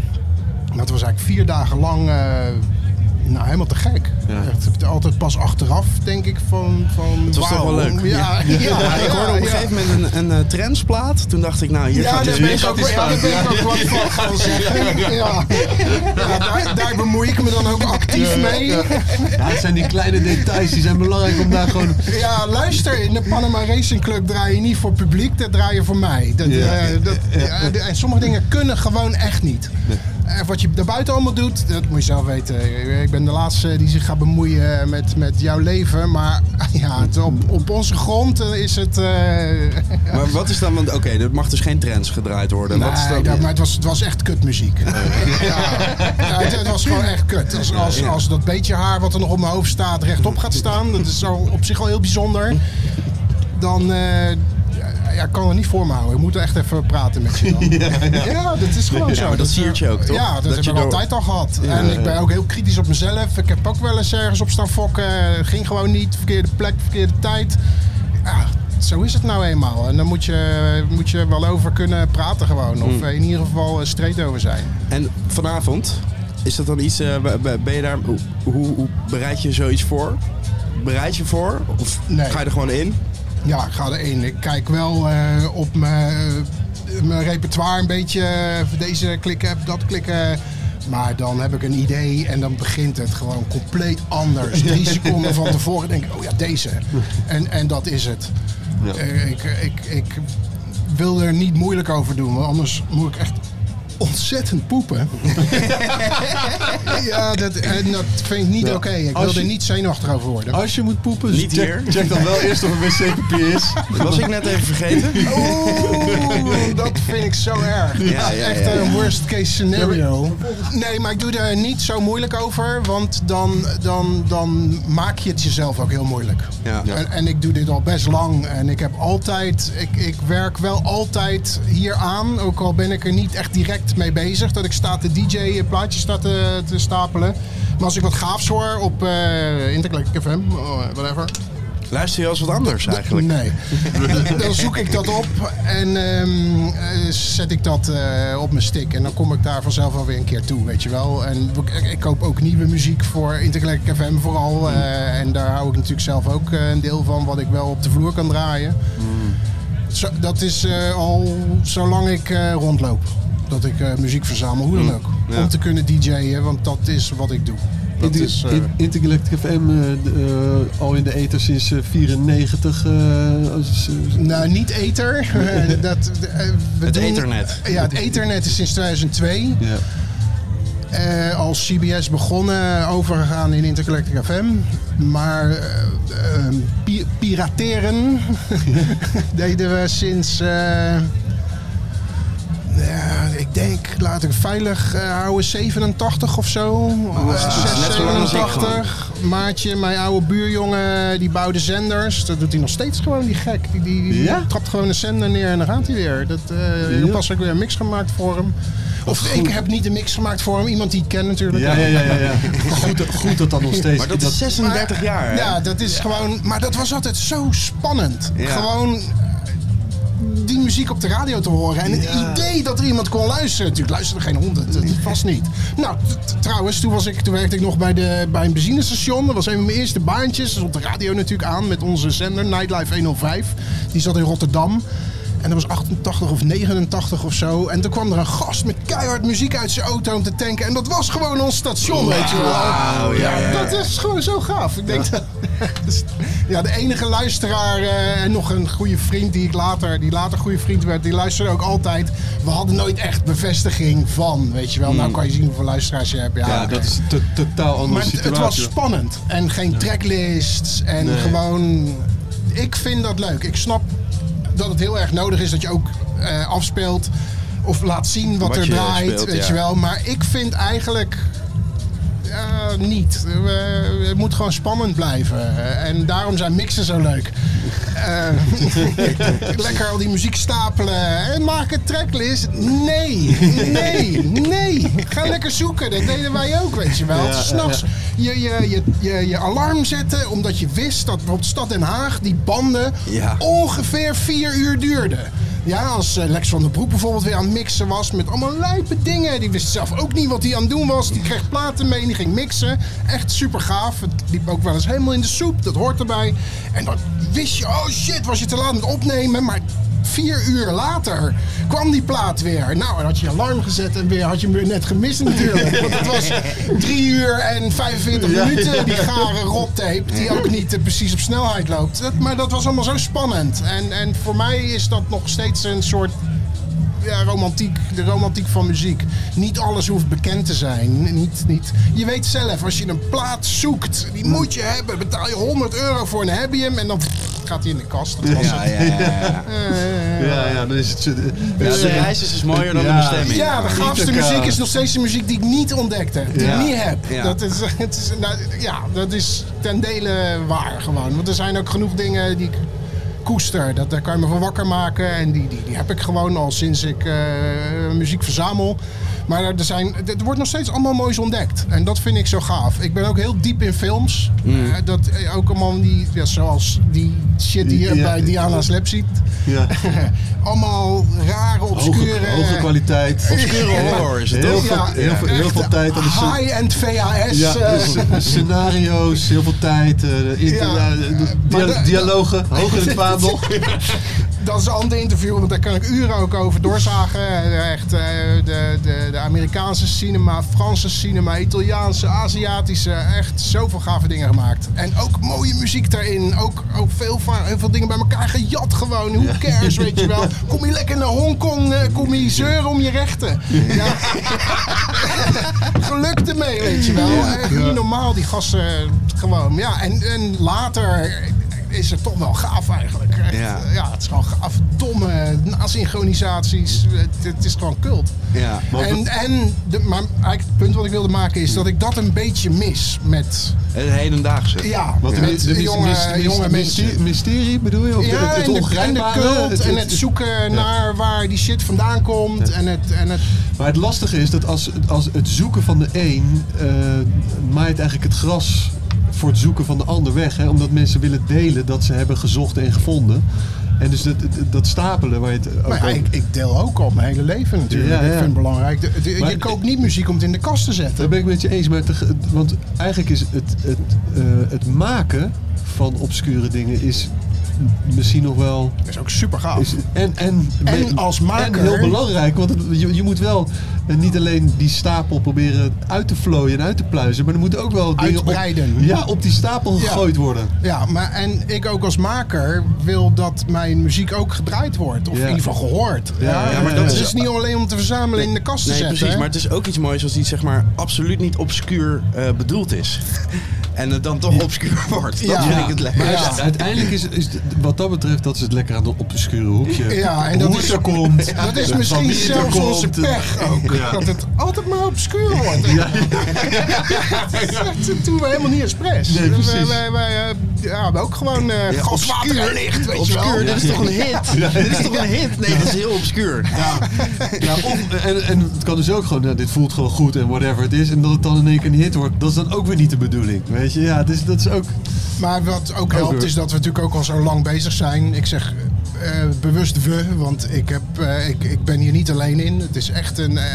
Maar het was eigenlijk vier dagen lang eh, nou, helemaal te gek. Echt, altijd pas achteraf, denk ik, van... van het
was toch wel leuk?
Ja, ja,
Ja, ik hoorde op een
ja.
gegeven moment een, een eh, trendsplaat. Toen dacht ik, nou, hier
Ja,
gaat
daar
het
ben
weer.
ik ook ja, daar ben ik ook wat van gaan zeggen. Ja. Ja, daar, daar bemoei ik me dan ook actief mee.
Ja, het zijn die kleine details, die zijn belangrijk om daar gewoon...
Ja, luister, in de Panama Racing Club draai je niet voor publiek, dat draai je voor mij. Dat,
Ja.
eh, dat, ja, en sommige dingen kunnen gewoon echt niet. En wat je daarbuiten allemaal doet, dat moet je zelf weten. Eh, Ik ben de laatste die zich gaat bemoeien met, met jouw leven. Maar ja, het- op, op onze grond eh, is het... eh,
Maar wat is dan, want oké, er mag dus geen trends gedraaid worden. wat is
Nee,
dan,
dat, maar het was, het was echt kutmuziek. Ja. Ja, het, het was gewoon echt kut. Als, als, als dat beetje haar wat er nog op mijn hoofd staat rechtop gaat staan, dat is al op zich al heel bijzonder. Dan, eh, eh, ja, ik kan er niet voor me houden. Ik moet er echt even praten met je dan. ja, dat is gewoon
Ja,
zo.
maar dat siert je
eh,
ook, toch?
Ja, dat,
Dat
heb
je
ik
door-
altijd al gehad. en ik ben ook heel kritisch op mezelf. Ik heb ook wel eens ergens op staan fokken. Het Ging gewoon niet. Verkeerde plek, verkeerde tijd. Ja, zo is het nou eenmaal. En dan moet je, moet je wel over kunnen praten gewoon.
Hm.
Of eh, in ieder geval eh, streed over zijn.
En vanavond, is dat dan iets, eh, b- b- ben je daar, hoe, hoe, hoe bereid je zoiets voor? Bereid je voor? Of
Nee.
ga je er gewoon in?
Ja, ik ga erin. Ik kijk wel eh, op mijn eh, mijn repertoire een beetje. eh, Deze klikken, dat klikken. Maar dan heb ik een idee en dan begint het gewoon compleet anders. Drie seconden van tevoren denk ik, oh ja, deze. En, en dat is het. Eh, Ik, ik, ik wil er niet moeilijk over doen, want anders moet ik echt ontzettend poepen. ja, dat, en dat vind ik niet
Ja,
oké. Ik
als
wil
je-
er niet zenuwachtig over worden.
Als je moet poepen,
Niet
check,
hier.
check dan wel eerst of er wc-papier is.
Dat was ik net even vergeten.
Oeh, dat vind ik zo erg. Dat
Ja,
is
ja,
echt
ja, ja.
een worst case scenario. Nee, maar ik doe er niet zo moeilijk over, want dan, dan, dan maak je het jezelf ook heel moeilijk.
Ja. Ja.
En, en ik doe dit al best lang en ik heb altijd, ik, ik werk wel altijd hier aan, ook al ben ik er niet echt direct mee bezig, dat ik sta te DJ plaatjes sta te, te stapelen. Maar als ik wat gaafs hoor op eh Interclick FM, eh, whatever,
Luister je als wat anders eigenlijk?
Nee. dan zoek ik dat op en ehm, eh, zet ik dat eh, op mijn stick. En dan kom ik daar vanzelf alweer een keer toe, weet je wel. En ik, ik koop ook nieuwe muziek voor Intergelijk FM
Mm.
vooral. eh, en daar hou ik natuurlijk zelf ook eh, een deel van wat ik wel op de vloer kan draaien.
Mm.
Zo, dat is eh, al zolang ik eh, rondloop. Dat ik eh, muziek verzamel, hoe dan ook.
Mm. ja.
Om te kunnen DJ'en, want dat is wat ik doe. Dat
Inter-
is, eh,
In- Intellect FM eh, d- eh, al in de ether sinds eh, 94. eh, als- eh,
Nou, niet Ether. dat, eh, we
Het
doen-
Ethernet.
Ja, het Ethernet is sinds 2002
ja.
eh, als CBS begonnen, overgegaan in Intergalactic FM. Maar eh, eh, pi- pirateren deden we sinds. eh, ja, ik denk, laat ik veilig eh, houden, 87 of zo. Eh,
dat is
zes,
net zo lang als ik
87. Maatje, mijn oude buurjongen, die bouwde zenders. Dat doet hij nog steeds gewoon, die gek. Die, die, die
Ja?
trapt gewoon een zender neer en dan gaat hij weer. Dat, eh
Ja.
pas heb ik weer een mix gemaakt voor hem. Of ik heb niet een mix gemaakt voor hem. Iemand die ik ken natuurlijk.
Ja, ja, ja, ja. ja. Goed, dat- goed dat dat nog steeds.
Maar dat is 36 jaar, hè?
Ja, dat is gewoon... Maar dat was altijd zo spannend.
Ja.
Gewoon eh, die muziek op de radio te horen. En het idee dat er iemand kon luisteren. Natuurlijk luisterde geen hond, dat- dat vast niet. Nou, t- t- trouwens, toen, was ik, toen werkte ik nog bij, de, bij een benzinestation. Dat was een van mijn eerste baantjes. Dus op de radio natuurlijk aan met onze zender Nightlife 105. Die zat in Rotterdam. En dat was 88 of 89 of zo. En toen kwam er een gast met keihard muziek uit zijn auto om te tanken. En dat was gewoon ons station, weet je wel. ja, Dat is gewoon zo gaaf. Ik denk dat... Dus, ja, de enige luisteraar eh, en nog een goede vriend die ik later, die later goede vriend werd, die luisterde ook altijd. We hadden nooit echt bevestiging van, weet je wel. Nou kan je zien hoeveel luisteraars je hebt. Ja,
Ja,
oké.
dat is een to- totaal andere
Maar het,
situatie.
het was spannend en geen tracklists en gewoon. Ik vind dat leuk. Ik snap dat het heel erg nodig is dat je ook eh, afspeelt of laat zien wat,
Wat
er
je
draait,
speelt,
weet
ja.
je wel. Maar ik vind eigenlijk ja, niet. We- het moet gewoon spannend blijven. En daarom zijn mixen zo leuk. Eh, lekker al die muziek stapelen. En maak een tracklist. Nee, nee, nee. Ga lekker zoeken. Dat deden wij ook, weet je wel. S'nachts je, je, je, je, je alarm zetten. Omdat je wist dat bijvoorbeeld Stad Den Haag die banden
Ja.
ongeveer vier uur duurden. Ja, als eh, Lex van der Broek bijvoorbeeld weer aan het mixen was met allemaal lijpe dingen. Die wist zelf ook niet wat hij aan het doen was. Die kreeg platen mee en die ging mixen. Echt super gaaf. Het liep ook wel eens helemaal in de soep. Dat hoort erbij. En dan wist je, oh shit, was je te laat aan het opnemen. Maar vier uur later kwam die plaat weer. Nou, en had je je alarm gezet en weer, had je hem weer net gemist natuurlijk. Want het was drie uur en 45 minuten die gare rottape. Die ook niet eh, precies op snelheid loopt. Dat, maar dat was allemaal zo spannend. En, en voor mij is dat nog steeds een soort ja, romantiek, de romantiek van muziek. Niet alles hoeft bekend te zijn. Niet, niet. Je weet zelf, als je een plaat zoekt, die moet je hebben. Betaal je 100 euro voor en heb je hem. En dan gaat hij in de kast. Dat was
Ja, ja, ja, ja.
eh,
Ja, ja, dan is het. eh, ja,
Dus de reis is dus mooier dan
Ja.
de bestemming.
Ja, de gaafste
te
muziek
koud.
is nog steeds de muziek die ik niet ontdekt heb. Die
Ja.
ik niet heb.
Ja.
Dat, is, het is, nou, ja, dat is ten dele waar gewoon. Want er zijn ook genoeg dingen die ik koester. Dat, daar kan je me van wakker maken. En die, die, die heb ik gewoon al sinds ik eh, muziek verzamel. Maar er, zijn, er wordt nog steeds allemaal moois ontdekt. En dat vind ik zo gaaf. Ik ben ook heel diep in films.
Mm.
Eh, dat, eh, ook allemaal die, ja, zoals die shit die je
Ja.
bij Diana's Lab ziet.
Ja.
allemaal rare,
Hoge,
obscure... eh,
hoge kwaliteit.
Obscure
horror is het
heel
toch?
veel, heel veel, heel veel tijd aan de scen-
High-end VHS.
ja,
eh,
dus, eh, scenario's, heel veel tijd, eh, de inter-
Ja,
eh, de- de-
maar
dia-
de-
dialogen, hoog in het vaandel.
Dat is een ander interview, want daar kan ik uren ook over doorzagen. Echt, eh, de, de, de Amerikaanse cinema, Franse cinema, Italiaanse, Aziatische. Echt zoveel gave dingen gemaakt. En ook mooie muziek daarin. Ook, ook veel, va- heel veel dingen bij elkaar gejat gewoon. Who cares, weet je wel. Kom je lekker naar Hongkong, eh, kom je zeuren om je rechten. Ja. Geluk ermee, weet je wel. Echt niet normaal, die gasten eh, gewoon. Ja, en, en later is het toch wel gaaf eigenlijk. Echt, eh,
Ja.
ja. het is gewoon gaaf. Domme nasynchronisaties. Het, het is gewoon kult.
Ja,
maar-
en, en de, maar eigenlijk het punt wat ik wilde maken is dat ik dat een beetje mis met...
Het hedendaagse.
Ja,
Wat de,
met
de, de
jonge,
mysterie,
jonge mensen.
mysterie, mysterie bedoel je? Of de-
Ja,
het, het
en de, en de
ongrijpbare?
cult en het zoeken naar waar die shit vandaan komt. En het, en het
Maar het lastige is dat als, als het zoeken van de een eh, maait eigenlijk het gras voor het zoeken van de ander weg. Hè? Omdat mensen willen delen dat ze hebben gezocht en gevonden. En dus dat, dat- dat stapelen waar je het ook
Maar Nou ja,
over-
ik, ik deel ook al mijn hele leven natuurlijk.
Ja, ja.
Ik vind het belangrijk. De- de-
Maar-
je koopt niet muziek om het in de kast te zetten.
Daar ben ik met je eens. Maar tege- want eigenlijk is het, het, eh, het maken van obscure dingen is m- misschien nog wel...
Dat is ook super gaaf.
Is, en, en,
En als maker-
En heel belangrijk, want het- je, je moet wel eh, niet alleen die stapel proberen uit te vlooien en uit te pluizen, maar er moeten ook wel dingen
Uitbreiden.
Op, ja, op die stapel
Ja.
gegooid worden.
Ja, maar en ik ook als maker wil dat mijn muziek ook gedraaid wordt. Of
Ja.
in ieder geval gehoord. Ja,
ja, maar dat
het
is-
is, niet alleen om te verzamelen in de kast te
nee,
zetten.
precies.
hè?
Maar het is ook iets moois als iets zeg maar absoluut niet obscuur eh, bedoeld is. en het dan toch obscuur wordt. Dat
Ja.
vind ik het lekker.
Maar
Ja.
het- uiteindelijk is, is het- wat dat betreft, dat is het lekker aan het obscure hoekje.
Ja, en dat
Hoe
is-
het er komt.
dat is
van
misschien
wie het er
zelfs
komt.
onze pech ook.
Ja.
Dat het altijd maar obscuur wordt. dat doen we helemaal niet expres.
Nee, precies.
wij, wij, wij, eh, ja, ook gewoon eh gas, water en licht, weet je wel.
Obscuur, dit is toch een hit? Dit is toch een hit? Nee, dat is heel obscuur.
Ja, of, en, en het kan dus ook gewoon, nou, dit voelt gewoon goed en whatever het is. En dat het dan in één keer een hit wordt, dat is dan ook weer niet de bedoeling. Weet je, ja, dus dat is ook...
Maar wat ook helpt
weer.
is dat we natuurlijk ook al zo lang bezig zijn. Ik zeg eh, bewust we, want ik, heb, eh, ik, ik ben hier niet alleen in. Het is echt een eh,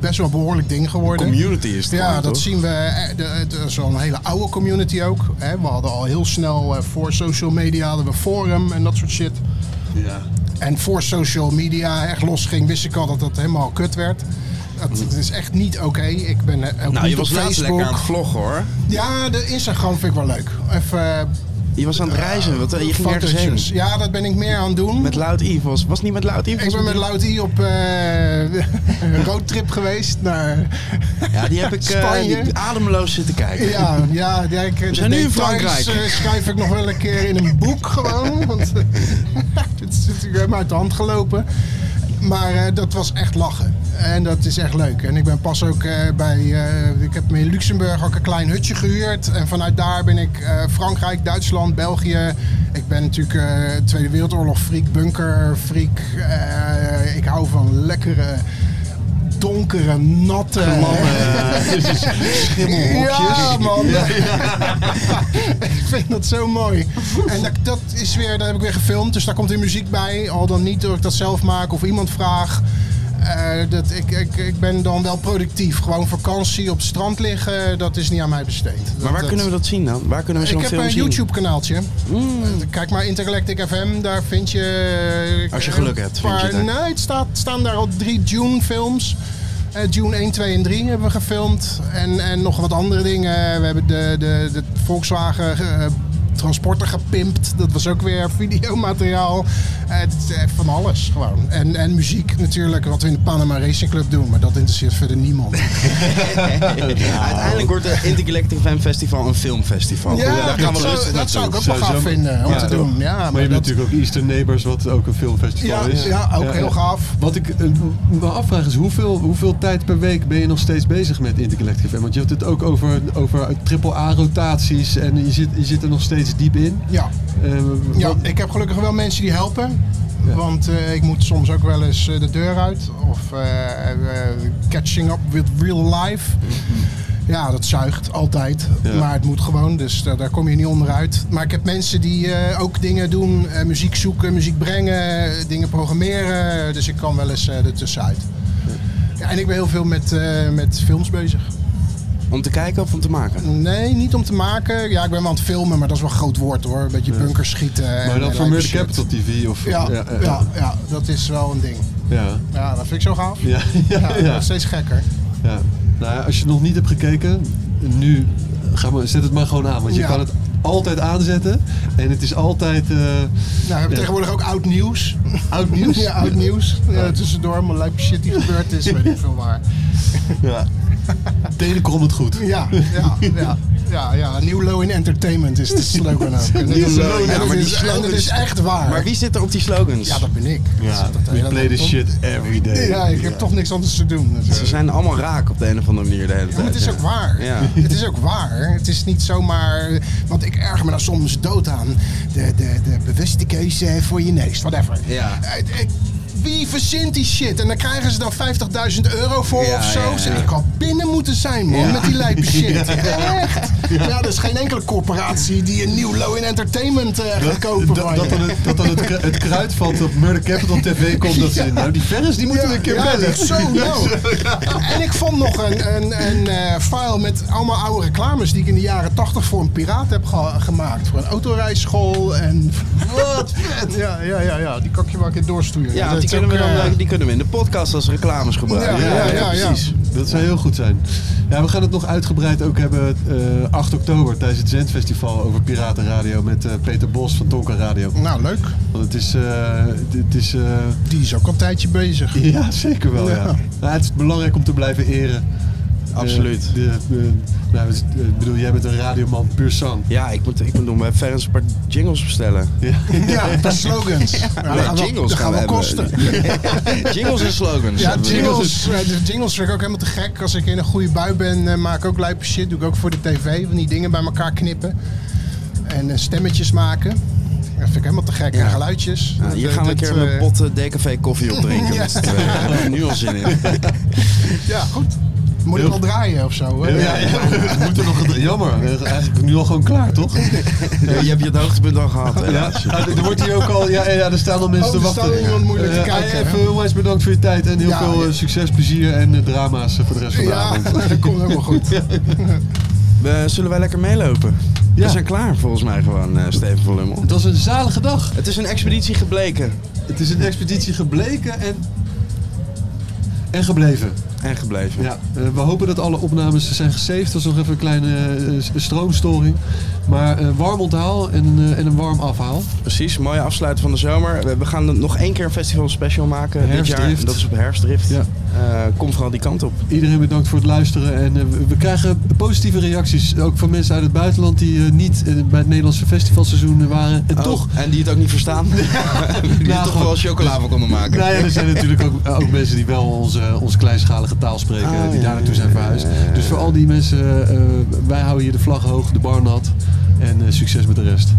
best wel behoorlijk ding geworden.
Community is het
Ja,
gewoon,
dat
toch?
zien we. eh, de- Het is al een hele oude community ook. Hè. We hadden al heel snel eh, voor social media hadden we forum en dat soort shit. En voor social media echt losging, wist ik al dat dat helemaal kut werd. Dat, dat is echt niet oké. Ik ben eh, ook
Mm. Nou,
niet
je was
op
laatst
Facebook.
lekker aan het vloggen hoor.
Ja, de Instagram vind ik wel leuk. Even eh,
Je was aan het reizen, want eh, je ging ergens heen.
fotootjes. Ja, dat ben ik meer aan het doen.
Met Loud Eve was, was het niet met Loud Eve?
ik
Was
ben
het
met
niet-
Lauti op eh, een roadtrip geweest naar
Ja, die heb ik eh,
Spanje.
die- ademloos zitten kijken.
Ja, ja, ja ik, de
zijn nu in
details,
Frankrijk.
eh, schrijf ik nog wel een keer in een boek gewoon. Want eh, dit is natuurlijk helemaal uit de hand gelopen. Maar eh, dat was echt lachen. En dat is echt leuk. En ik ben pas ook eh, bij. eh, ik heb me in Luxemburg ook een klein hutje gehuurd. En vanuit daar ben ik eh, Frankrijk, Duitsland, België. Ik ben natuurlijk eh, Tweede Wereldoorlog freak, bunker freak. Eh, ik hou van lekkere, donkere, natte. Ja, man. ik vind dat zo mooi. En dat, dat is weer, daar heb ik weer gefilmd. Dus daar komt weer muziek bij. Al dan niet door ik dat zelf maak of iemand vraag. Eh, dat, ik, ik, ik ben dan wel productief. Gewoon vakantie op het strand liggen, dat is niet aan mij besteed.
Maar waar kunnen we dat zien dan? Waar kunnen we zo'n
Ik heb
film
een
zien? Hmm.
YouTube-kanaaltje. Eh, Kijk maar Intergalactic FM, daar vind je... eh,
Als je geluk hebt,
een
vind je
paar-
het, hè?
Nee, het staat, staan daar al drie Dune-films. Eh, Dune 1, 2 en 3 hebben we gefilmd. En, en nog wat andere dingen. We hebben de, de, de Volkswagen... eh, transporter gepimpt, dat was ook weer videomateriaal. Eh, Het is echt van alles gewoon. En, en muziek natuurlijk, wat we in de Panama Racing Club doen, maar dat interesseert verder
Oh,
niemand.
Uiteindelijk wordt de Intergalactic Fan Festival een filmfestival.
Ja,
daar gaan
dat
we
zou-
rustig
dat zou ik
naartoe.
ook wel gaaf vinden om
Ja,
te
toch?
doen. Ja, maar
maar je
dat-
hebt natuurlijk ook Eastern Neighbors, wat ook een filmfestival
Ja,
is.
ja, ook heel gaaf.
Wat ik eh, me afvraag is, hoeveel, hoeveel tijd per week ben je nog steeds bezig met Intergalactic FM? Want je hebt het ook over, over AAA-rotaties en je zit, je zit er nog steeds steeds diep in.
Ja.
Eh,
ja,
wat-
ik heb gelukkig wel mensen die helpen. Want eh, ik moet soms ook wel eens eh, de deur uit. Of eh, eh, catching up with real life.
Mhm.
Ja, dat zuigt altijd. Maar het moet gewoon, dus daar- daar kom je niet onderuit. Maar ik heb mensen die eh, ook dingen doen. eh, muziek zoeken, muziek brengen, eh, dingen programmeren. Dus ik kan wel eens eh ertussenuit. Ja, en ik ben heel veel met, eh, met films bezig.
Om te kijken of om te maken?
Nee, niet om te maken. Ja, ik ben wel aan het filmen, maar dat is wel een groot woord hoor. Een beetje bunkers schieten. eh,
maar dan voor Murder Capital TV of...
Ja, ja,
ja,
ja, dat is wel een ding.
ja.
Ja, dat vind ik zo gaaf.
Ja, ja,
Ja,
ja.
Nog steeds gekker.
ja. Nou ja, als je het nog niet hebt gekeken, nu eh, ga maar, zet het maar gewoon aan. Want je
Ja.
kan het altijd aanzetten en het is altijd eh,
Nou, we hebben tegenwoordig ook oud nieuws.
oud nieuws. Oh.
Ja, oud nieuws. Ja, tussendoor, maar lijp shit die gebeurd is, weet ik veel waar.
Ja. Telecom het goed.
Ja, ja, ja. Ja, ja, New Low in Entertainment is de slogan ook. En dat
New
is-
Low in-
en
Ja,
dat
maar die
is- en dat
slogan
is
is-
echt waar.
Maar wie zit er op die slogans?
Ja, dat ben ik.
Ja,
Dat-
we
dat-
play this
dat-
shit every day.
Ja, ik heb toch niks anders te doen. natuurlijk.
Ze zijn allemaal raak op de een of andere manier de hele
Ja, maar
tijd.
het is
ja.
ook waar.
Ja.
Het is ook waar. Het is niet zomaar. Want ik erger me daar soms dood aan. De, de, de bewuste keuze voor je neus, whatever.
Ja.
Eh, eh, Wie verzint die shit? En dan krijgen ze dan 50.000 euro voor
Ja,
of zo.
ja, ja.
Zeg, Ik had binnen moeten zijn, man, met die lijpe shit. Echt. Ja. er is geen enkele corporatie die een nieuw Low in Entertainment eh, gaat kopen.
Dat,
van
dat
je.
dan, het, dat dan het, kru- het kruid valt op Murder Capital TV komt. Dat ze, nou, die Ferris die moeten we een keer bellen.
echt Zo, nou. En ik vond nog een, een, een eh, file met allemaal oude reclames die ik in de jaren 80 voor een piraat heb ge- gemaakt. Voor een autorijschool en... Wat vet! Ja, ja, ja, ja. Die kan ik je wel een keer doorsturen.
Ja,
Dat
die
is
kunnen, we
ook,
dan,
eh,
eh, die kunnen we in de podcast als reclames gebruiken.
Ja, ja, ja, ja.
precies. Dat zou heel goed zijn. Ja, we gaan het nog uitgebreid ook hebben eh 8 oktober tijdens het Zendfestival over Piratenradio met eh, Peter Bos van Tonka Radio.
Nou, leuk.
Want het is... eh, het is eh,
Die is ook al een tijdje bezig.
ja, zeker wel. Ja.
Ja.
Nou, het is belangrijk om te blijven eren.
Absoluut.
Eh, de, eh, nou, het is- ik bedoel, jij bent een radioman puur sang.
Ja, ik moet, ik moet nog bij Ferens een paar jingles bestellen.
Ja, per slogans. Ja, dat gaat wel-
jingles
dat
gaan
gaat
we
wel
hebben.
kosten.
jingles en slogans.
Ja,
hebben we.
jingles, eh, de jingles vind ik ook helemaal te gek. Als ik in een goede bui ben, eh, maak ik ook lijpe shit. Doe ik ook voor de tv, van die dingen bij elkaar knippen. En eh, stemmetjes maken. Dat vind ik helemaal te gek. En geluidjes.
Ja, hier gaan we een keer
eh,
een botte DKV koffie op drinken.
Ja.
met z'n tweeën. Daar heb ik nu al zin in.
Ja, goed. Moet ik wel draaien of zo? hè?
Ja, ja. We moeten nog... gedra- Jammer. Eh, Eigenlijk nu al gewoon klaar, toch?
Ja, je hebt je het hoogtepunt al gehad.
Ja,
helaas.
ah, er wordt hier ook al, ja, ja er staan al mensen
Oh,
te
er
wachten.
staan al iemand moeilijk te
Eh,
kijken,
ah,
hè?
Even onwijs bedankt voor je tijd en heel
Ja,
veel eh,
ja.
succes, plezier en eh, drama's eh, voor de rest van de
Ja,
avond.
dat komt helemaal goed.
We- zullen wij lekker meelopen?
Ja.
We zijn klaar volgens mij gewoon, eh, Steven van Lummel.
Het was een zalige dag.
Het is een expeditie gebleken.
Het is een expeditie gebleken en, en gebleven.
En gebleven.
Ja, eh, we hopen dat alle opnames zijn gesaved. Dat is nog even een kleine eh, s- stroomstoring. Maar eh, warm onthaal en, eh, en een warm afhaal.
Precies, mooie afsluiting van de zomer. We- We gaan er nog één keer een festival special maken dit
Herfstdrift.
jaar. Dat is op herfstdrift.
Ja.
Eh, kom vooral die kant op.
Iedereen bedankt voor het luisteren. En eh, we- we krijgen positieve reacties. Ook van mensen uit het buitenland die eh, niet eh, bij het Nederlandse festivalseizoen eh, waren. En toch
Oh, en die het ook niet verstaan. die
Nou,
het toch
goed.
wel chocola van konden maken.
Nou ja, er zijn natuurlijk ook, ook mensen die wel onze, onze kleinschalige taal spreken,
Ah,
die
ja,
daar naartoe zijn verhuisd. Dus voor al die mensen, eh, wij houden hier de vlag hoog, de bar nat. En eh, succes met de rest.